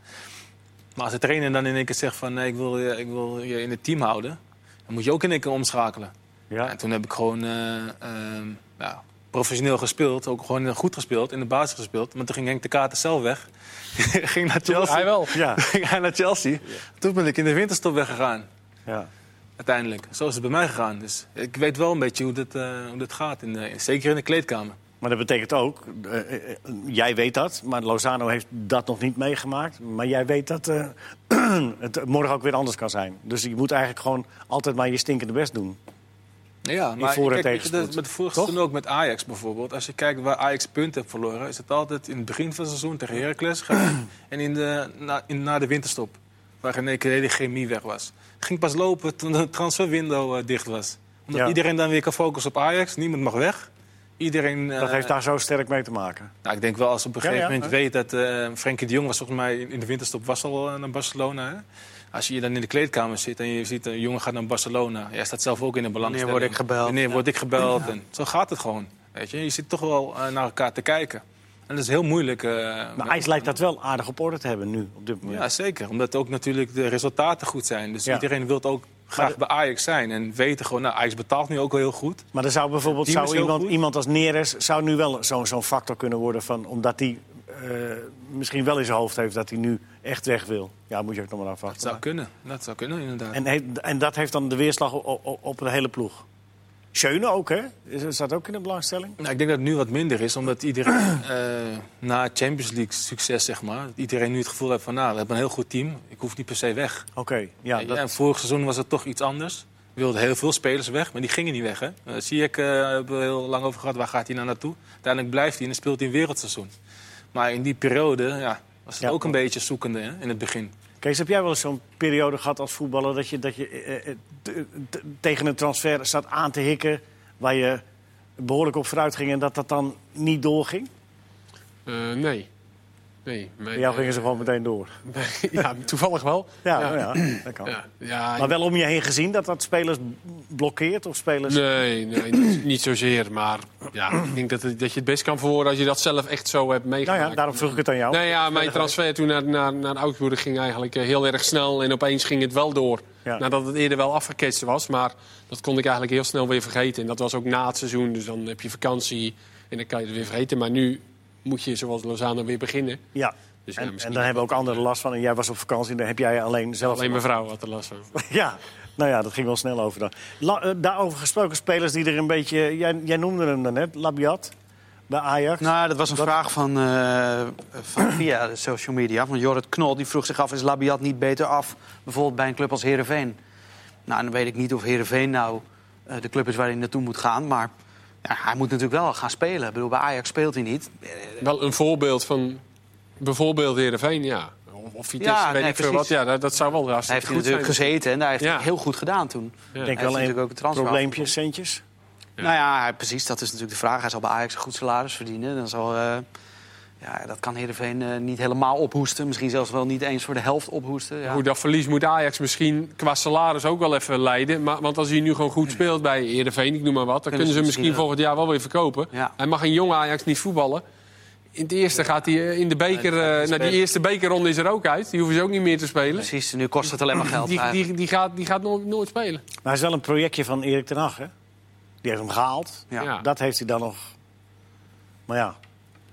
C: Maar als de trainer dan in één keer zegt van nee, ik wil, je- ik wil je in het team houden, dan moet je ook in één keer omschakelen. Ja.
A: Ja.
C: En toen heb ik gewoon eh, ehm, ja, professioneel gespeeld, ook gewoon goed gespeeld, in de basis gespeeld. Maar toen ging Henk de Kater zelf weg, ging naar Chelsea.
D: Hij wel.
A: Ja.
C: ging hij naar Chelsea. Toen ben ik in de winterstop weggegaan
A: ja.
C: uiteindelijk. Zo is het bij mij gegaan. Dus ik weet wel een beetje hoe dat, eh, hoe dat gaat. In de, zeker in de kleedkamer.
A: Maar dat betekent ook, eh, eh, eh, jij weet dat, maar Lozano heeft dat nog niet meegemaakt. Maar jij weet dat eh, het morgen ook weer anders kan zijn. Dus je moet eigenlijk gewoon altijd maar je stinkende best doen.
C: Ja,
A: maar voor- en
C: kijk,
A: tegenspoed.
C: dat- met de vorige
A: Toch?
C: seizoen ook met Ajax bijvoorbeeld. Als je kijkt waar Ajax punten heeft verloren, is het altijd in het begin van het seizoen tegen Heracles gegaan en in de, na, in, na de winterstop, waar in één keer de hele chemie weg was. Het ging pas lopen toen de transferwindow eh, dicht was. Omdat
A: Ja.
C: iedereen dan weer kan focussen op Ajax. Niemand mag weg. Iedereen, eh,
A: Dat heeft daar zo sterk mee te maken.
C: nou, ik denk wel als op een
A: Ja,
C: gegeven
A: ja,
C: moment weet dat eh Frenkie de Jong was volgens mij in in de winterstop was al eh, naar Barcelona. Hè? Als je hier dan in de kleedkamer zit en je ziet een jongen gaat naar Barcelona. Jij staat zelf ook in de belangstelling.
E: Wanneer word ik gebeld?
C: Wanneer word ik gebeld? En zo gaat het gewoon. Weet je? je zit toch wel eh, naar elkaar te kijken. En dat is heel moeilijk. eh,
A: Maar
C: met-
A: IJs Nou, lijkt dat wel aardig op orde te hebben nu, op dit moment.
C: ja, zeker. Omdat ook natuurlijk de resultaten goed zijn. Dus
A: Ja.
C: iedereen wil ook graag
A: de-
C: bij Ajax zijn. En weten gewoon, nou, Ajax betaalt nu ook wel heel goed.
A: Maar er zou bijvoorbeeld
C: Het team
A: zou
C: is heel
A: iemand,
C: goed.
A: iemand als Neres zou nu wel zo'n zo'n factor kunnen worden... Van, omdat hij eh, misschien wel in zijn hoofd heeft dat hij nu echt weg wil. Ja, moet je ook nog maar
C: Dat
A: afwachten.
C: zou kunnen. Dat zou kunnen, inderdaad.
A: En, heeft- en dat heeft dan de weerslag op, op, op de hele ploeg. Schöne ook, hè? Is- Staat ook in de belangstelling?
C: Nou, ik denk dat het nu wat minder is, omdat iedereen eh, na Champions League succes, zeg maar, dat iedereen nu het gevoel heeft van, nou, we hebben een heel goed team, ik hoef niet per se weg.
A: Oké, ja.
C: Weet je,
A: dat-
C: En vorig seizoen was het toch iets anders. wilde heel veel spelers weg, maar die gingen niet weg. Hè? Uh, Ziyech eh, hebben we heel lang over gehad, waar gaat hij nou naartoe? Uiteindelijk blijft hij en dan speelt hij een wereldseizoen. Maar in die periode ja, was het
A: Ja.
C: ook een beetje zoekende hè, in het begin.
A: Kees, heb jij wel eens zo'n periode gehad als voetballer... dat je, dat je eh, eh, t- t- tegen een transfer staat aan te hikken... waar je behoorlijk op vooruit ging en dat dat dan niet doorging?
D: Eh, nee. Nee. Mijn,
A: Bij jou gingen ze gewoon meteen door.
D: ja, toevallig wel.
A: Ja, nou ja. dat kan.
D: Ja, ja,
A: Maar wel om je heen gezien dat dat spelers b- blokkeert of spelers...
D: Nee, nee niet, niet zozeer. Maar ja, ik denk dat, het- dat je het best kan verwoorden als je dat zelf echt zo hebt
A: Nou
D: meegemaakt.
A: ja, daarom vroeg ik het aan
E: Oh.
A: jou.
D: Nou ja, mijn transfer toen naar, naar, naar Augsburg ging eigenlijk eh, heel erg snel. En opeens ging het wel door.
A: Ja.
D: Nadat het eerder wel afgeketst was. Maar dat kon ik eigenlijk heel snel weer vergeten. En dat was ook na het seizoen. Dus dan heb je vakantie en dan kan je het weer vergeten. Maar nu moet je, zoals Lozano, weer beginnen.
A: Ja.
D: Dus ja,
A: En, en
D: misschien
A: daar hebben ook anderen last van. En jij was op vakantie en daar heb jij alleen zelf...
D: Alleen mijn vrouw had er last van.
A: Ja, nou ja, dat ging wel snel over dan. La- eh, daarover gesproken, spelers die er een beetje... Jij, jij noemde hem dan net, Labiat, bij Ajax.
E: Nou, dat was een vraag van, eh, van via de social media. Van Jorrit Knol die vroeg zich af: is Labiat niet beter af? Bijvoorbeeld bij een club als Herenveen. Nou, dan weet ik niet of Herenveen nou eh, de club is waar hij naartoe moet gaan. Maar ja, hij moet natuurlijk wel gaan spelen. Ik bedoel, bij Ajax speelt hij niet.
D: Wel een voorbeeld van bijvoorbeeld Heerenveen, ja. Of, of Vitesse,
E: Ja,
D: weet
E: nee,
D: ik veel
E: precies.
D: wat. Ja, dat, dat zou wel
E: Hij
D: hartstikke
E: heeft hij
D: goed
E: natuurlijk
D: zijn.
E: gezeten en daar heeft hij
D: Ja.
E: het heel goed gedaan toen.
A: Ik denk
E: Hij
A: wel
E: heeft
A: één
E: natuurlijk ook een transfer
A: probleempje, centjes.
E: Nou ja, hij- precies, dat is natuurlijk de vraag. Hij zal bij Ajax een goed salaris verdienen. Dan zal, eh, ja, dat kan Heerenveen eh, niet helemaal ophoesten. Misschien zelfs wel niet eens voor de helft ophoesten. Ja.
D: Goed, dat verlies moet Ajax misschien qua salaris ook wel even leiden. Maar, want als hij nu gewoon goed speelt bij Heerenveen, ik noem maar wat... dan
E: Kunnen
D: kunnen
E: ze
D: ze
E: misschien
D: misschien
E: wel.
D: volgend jaar wel weer verkopen.
E: Ja.
D: Hij mag een jong Ajax niet voetballen. In het eerste gaat hij eh, in de beker... eh, nou, die eerste bekerronde is er ook uit. Die hoeven ze ook niet meer te spelen.
E: Precies, nu kost het alleen maar geld.
D: Die,
E: eigenlijk.
D: die, die gaat, die gaat nooit, nooit spelen.
A: Maar hij is wel een projectje van Erik ten Hag, hè? Die heeft hem gehaald.
E: Ja.
D: Ja.
A: Dat heeft hij dan nog... Maar ja,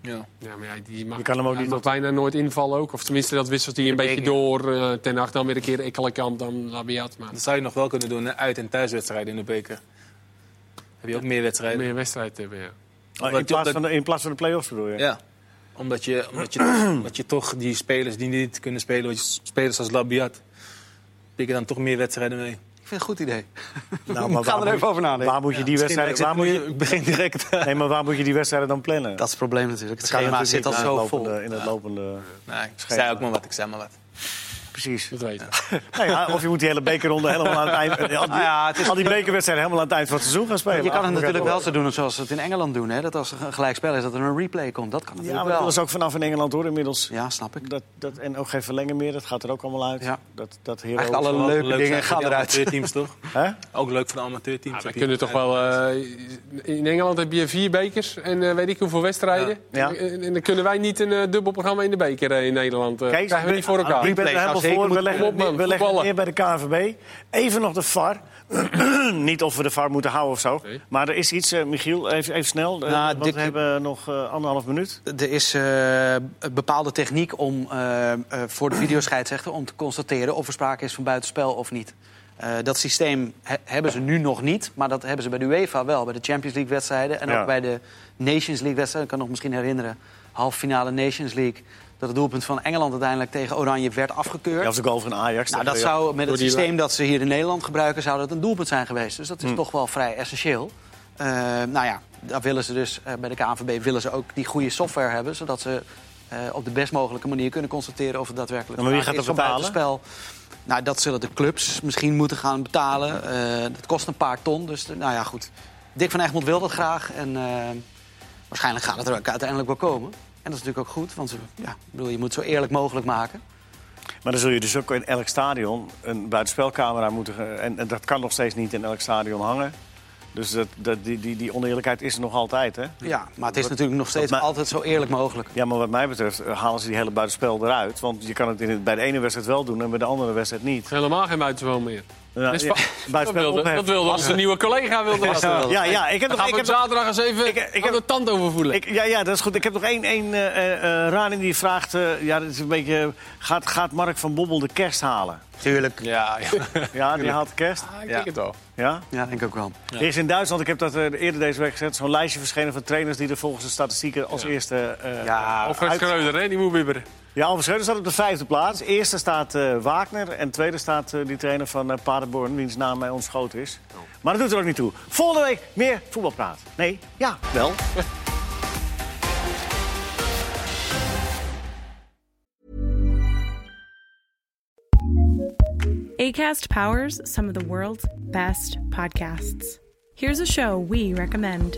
C: Ja.
D: Ja, maar ja, die mag,
A: Je kan hem ook
D: hij
A: niet
D: mag bijna nooit invallen ook. Of tenminste, dat wisselt hij een beetje door. eh ten acht dan weer een keer Ekkelenkamp, dan Labiat. Maar
C: Dat zou je nog wel kunnen doen, hè? uit- en thuiswedstrijden in de beker. Heb je ook meer wedstrijden?
D: meer wedstrijd hebben, ja.
A: in
C: dat-
A: plaats,
C: dat-
A: van de, in plaats van de play-offs bedoel je?
C: Ja. Omdat je, omdat je, omdat je toch die spelers die niet kunnen spelen, wat je- spelers als Labiat, pikken dan toch meer wedstrijden mee.
E: Ik vind het een goed idee.
A: Nou, maar
E: We gaan
A: waar moet-
E: er even over nadenken.
A: Waar moet je die
C: Misschien- ik
A: wedstrijden...
C: zit
A: Waar moet
C: nu-
A: je,
C: Ik begin direct.
A: nee, maar waar moet je die wedstrijden dan plannen?
E: Dat is het probleem natuurlijk. Het
A: kan
E: schema
A: natuurlijk
E: zit al
A: niet in
E: zo
A: het
E: vol.
A: lopende- In het lopende...
C: nee, ik zei ook maar wat, ik zei maar wat.
A: Precies.
D: Dat weet ik.
A: Nou ja, of je moet die hele bekerronde helemaal aan het eind... Al die,
E: Nou ja, het is-
A: al die bekerwedstrijden helemaal aan het eind van het seizoen gaan spelen. Ah,
E: Je kan het
A: Afgemaakt
E: natuurlijk wel
A: worden.
E: zo doen zoals ze het in Engeland doen. Hè? Dat als er een gelijkspel is, dat er een replay komt. Dat kan
A: Ja, maar
E: natuurlijk
A: dat
E: wel.
A: is ook vanaf in Engeland hoor inmiddels.
E: Ja, snap ik.
A: Dat, dat, en ook geen verlengen meer, dat gaat er ook allemaal uit.
E: Ja.
A: Dat, dat hero-
E: Echt alle leuke
C: Leuk
E: dingen
C: zijn voor
E: gaan
C: die
E: eruit.
C: Amateurteams toch?
A: Hè?
C: Ook leuk voor de amateurteams.
D: Ja, we
C: Heb je-
D: kunnen toch wel... eh, in Engeland heb je vier bekers en eh, weet ik hoeveel wedstrijden.
A: Ja. Ja.
D: En, en dan kunnen wij niet een eh, dubbel programma in de beker eh, in Nederland. eh.
A: Kees,
D: krijgen we niet voor
A: ik
D: elkaar.
A: ben er helemaal
E: nou, zeker
A: voor. We
E: moeten-
A: leggen,
D: Kom op, man,
A: we leggen het
D: voetballen.
A: neer bij de KNVB. Even nog de VAR. Niet of we de VAR moeten houden of zo.
D: Nee.
A: Maar er is iets, eh, Michiel, even, even snel. eh,
E: Nou,
A: want
E: Dick-
A: we hebben nog eh, anderhalf minuut.
E: Er is eh, een bepaalde techniek om eh, eh, voor de videoscheidsrechter om te constateren of er sprake is van buitenspel of niet. Eh, dat systeem he- hebben ze nu nog niet, maar dat hebben ze bij de UEFA wel. Bij de Champions League wedstrijden en
A: Ja.
E: ook bij de Nations League wedstrijden. Ik kan nog misschien herinneren, halffinale Nations League... dat het doelpunt van Engeland uiteindelijk tegen Oranje werd afgekeurd.
A: Ja, of de goal van Ajax.
E: Nou, dat
A: eh,
E: zou met het
D: die
E: systeem dat ze hier in Nederland gebruiken, zou dat een doelpunt zijn geweest. Dus
A: Mm.
E: dat is toch wel vrij essentieel. Eh, nou ja, daar willen ze dus eh, bij de KNVB willen ze ook die goede software hebben, zodat ze eh, op de best mogelijke manier kunnen constateren of het daadwerkelijk
A: Ja, maar wie
E: sprake
A: gaat dat
E: is van
A: betalen?
E: buitenspel. Nou, dat zullen de clubs misschien moeten gaan betalen. Eh, dat kost een paar ton, dus eh, nou ja, goed. Dick van Egmond wil dat graag en eh, waarschijnlijk gaat het er ook uiteindelijk wel komen. En dat is natuurlijk ook goed, want eh, ja, ik bedoel, je moet het zo eerlijk mogelijk maken.
A: Maar dan zul je dus ook in elk stadion een buitenspelcamera moeten... ge- En, en dat kan nog steeds niet in elk stadion hangen. Dus dat, dat, die, die, die oneerlijkheid is er nog altijd, hè?
E: Ja, maar het is natuurlijk nog steeds
A: ma-
E: altijd zo eerlijk mogelijk.
A: Ja, maar wat mij betreft eh, halen ze die hele buitenspel eruit. Want je kan het, in het bij de ene wedstrijd wel doen en bij de andere wedstrijd niet.
D: Helemaal geen buitenspel meer.
A: Nou,
D: Dat is
A: ja,
D: fa- dat,
A: buitenspel
D: wilde,
A: opheffen.
D: dat wilde onze nieuwe collega. Wilde dat.
A: Ja, ja, ik heb
D: Dan
A: nog... Ik
D: gaan we
A: heb
D: hem
A: nog
D: zaterdag eens even
A: Ik- ik
D: aan
A: heb-
D: de tand overvoelen.
A: ik, ja, ja, dat is goed. Ik heb nog één, één eh, eh, eh, Rani die vraagt... eh, ja, dat is een beetje, eh, gaat, gaat Mark van Bobbel de kerst halen?
E: Tuurlijk.
C: Ja, ja.
A: Ja, die haalt de kerst.
D: Ah, ik
C: Ja.
D: denk het al.
A: Ja?
E: Ja, denk ik ook wel.
A: Er is in Duitsland, ik heb dat eh, eerder deze week gezet... zo'n lijstje verschenen van trainers die er volgens de statistieken als eerste eh
E: Ja,
A: eh,
D: Alfred
A: uit-
D: Schreuder, hè, die moet bibberen.
A: Ja, Alves Schreuder staat op de vijfde plaats. Eerste staat eh Wagner en tweede staat eh, die trainer van eh, Paderborn... wiens naam mij ontschoten is. Maar dat doet er ook niet toe. Volgende week meer voetbalpraat. Nee, ja, wel.
F: ACAST powers some of the world's best podcasts. Here's a show we recommend.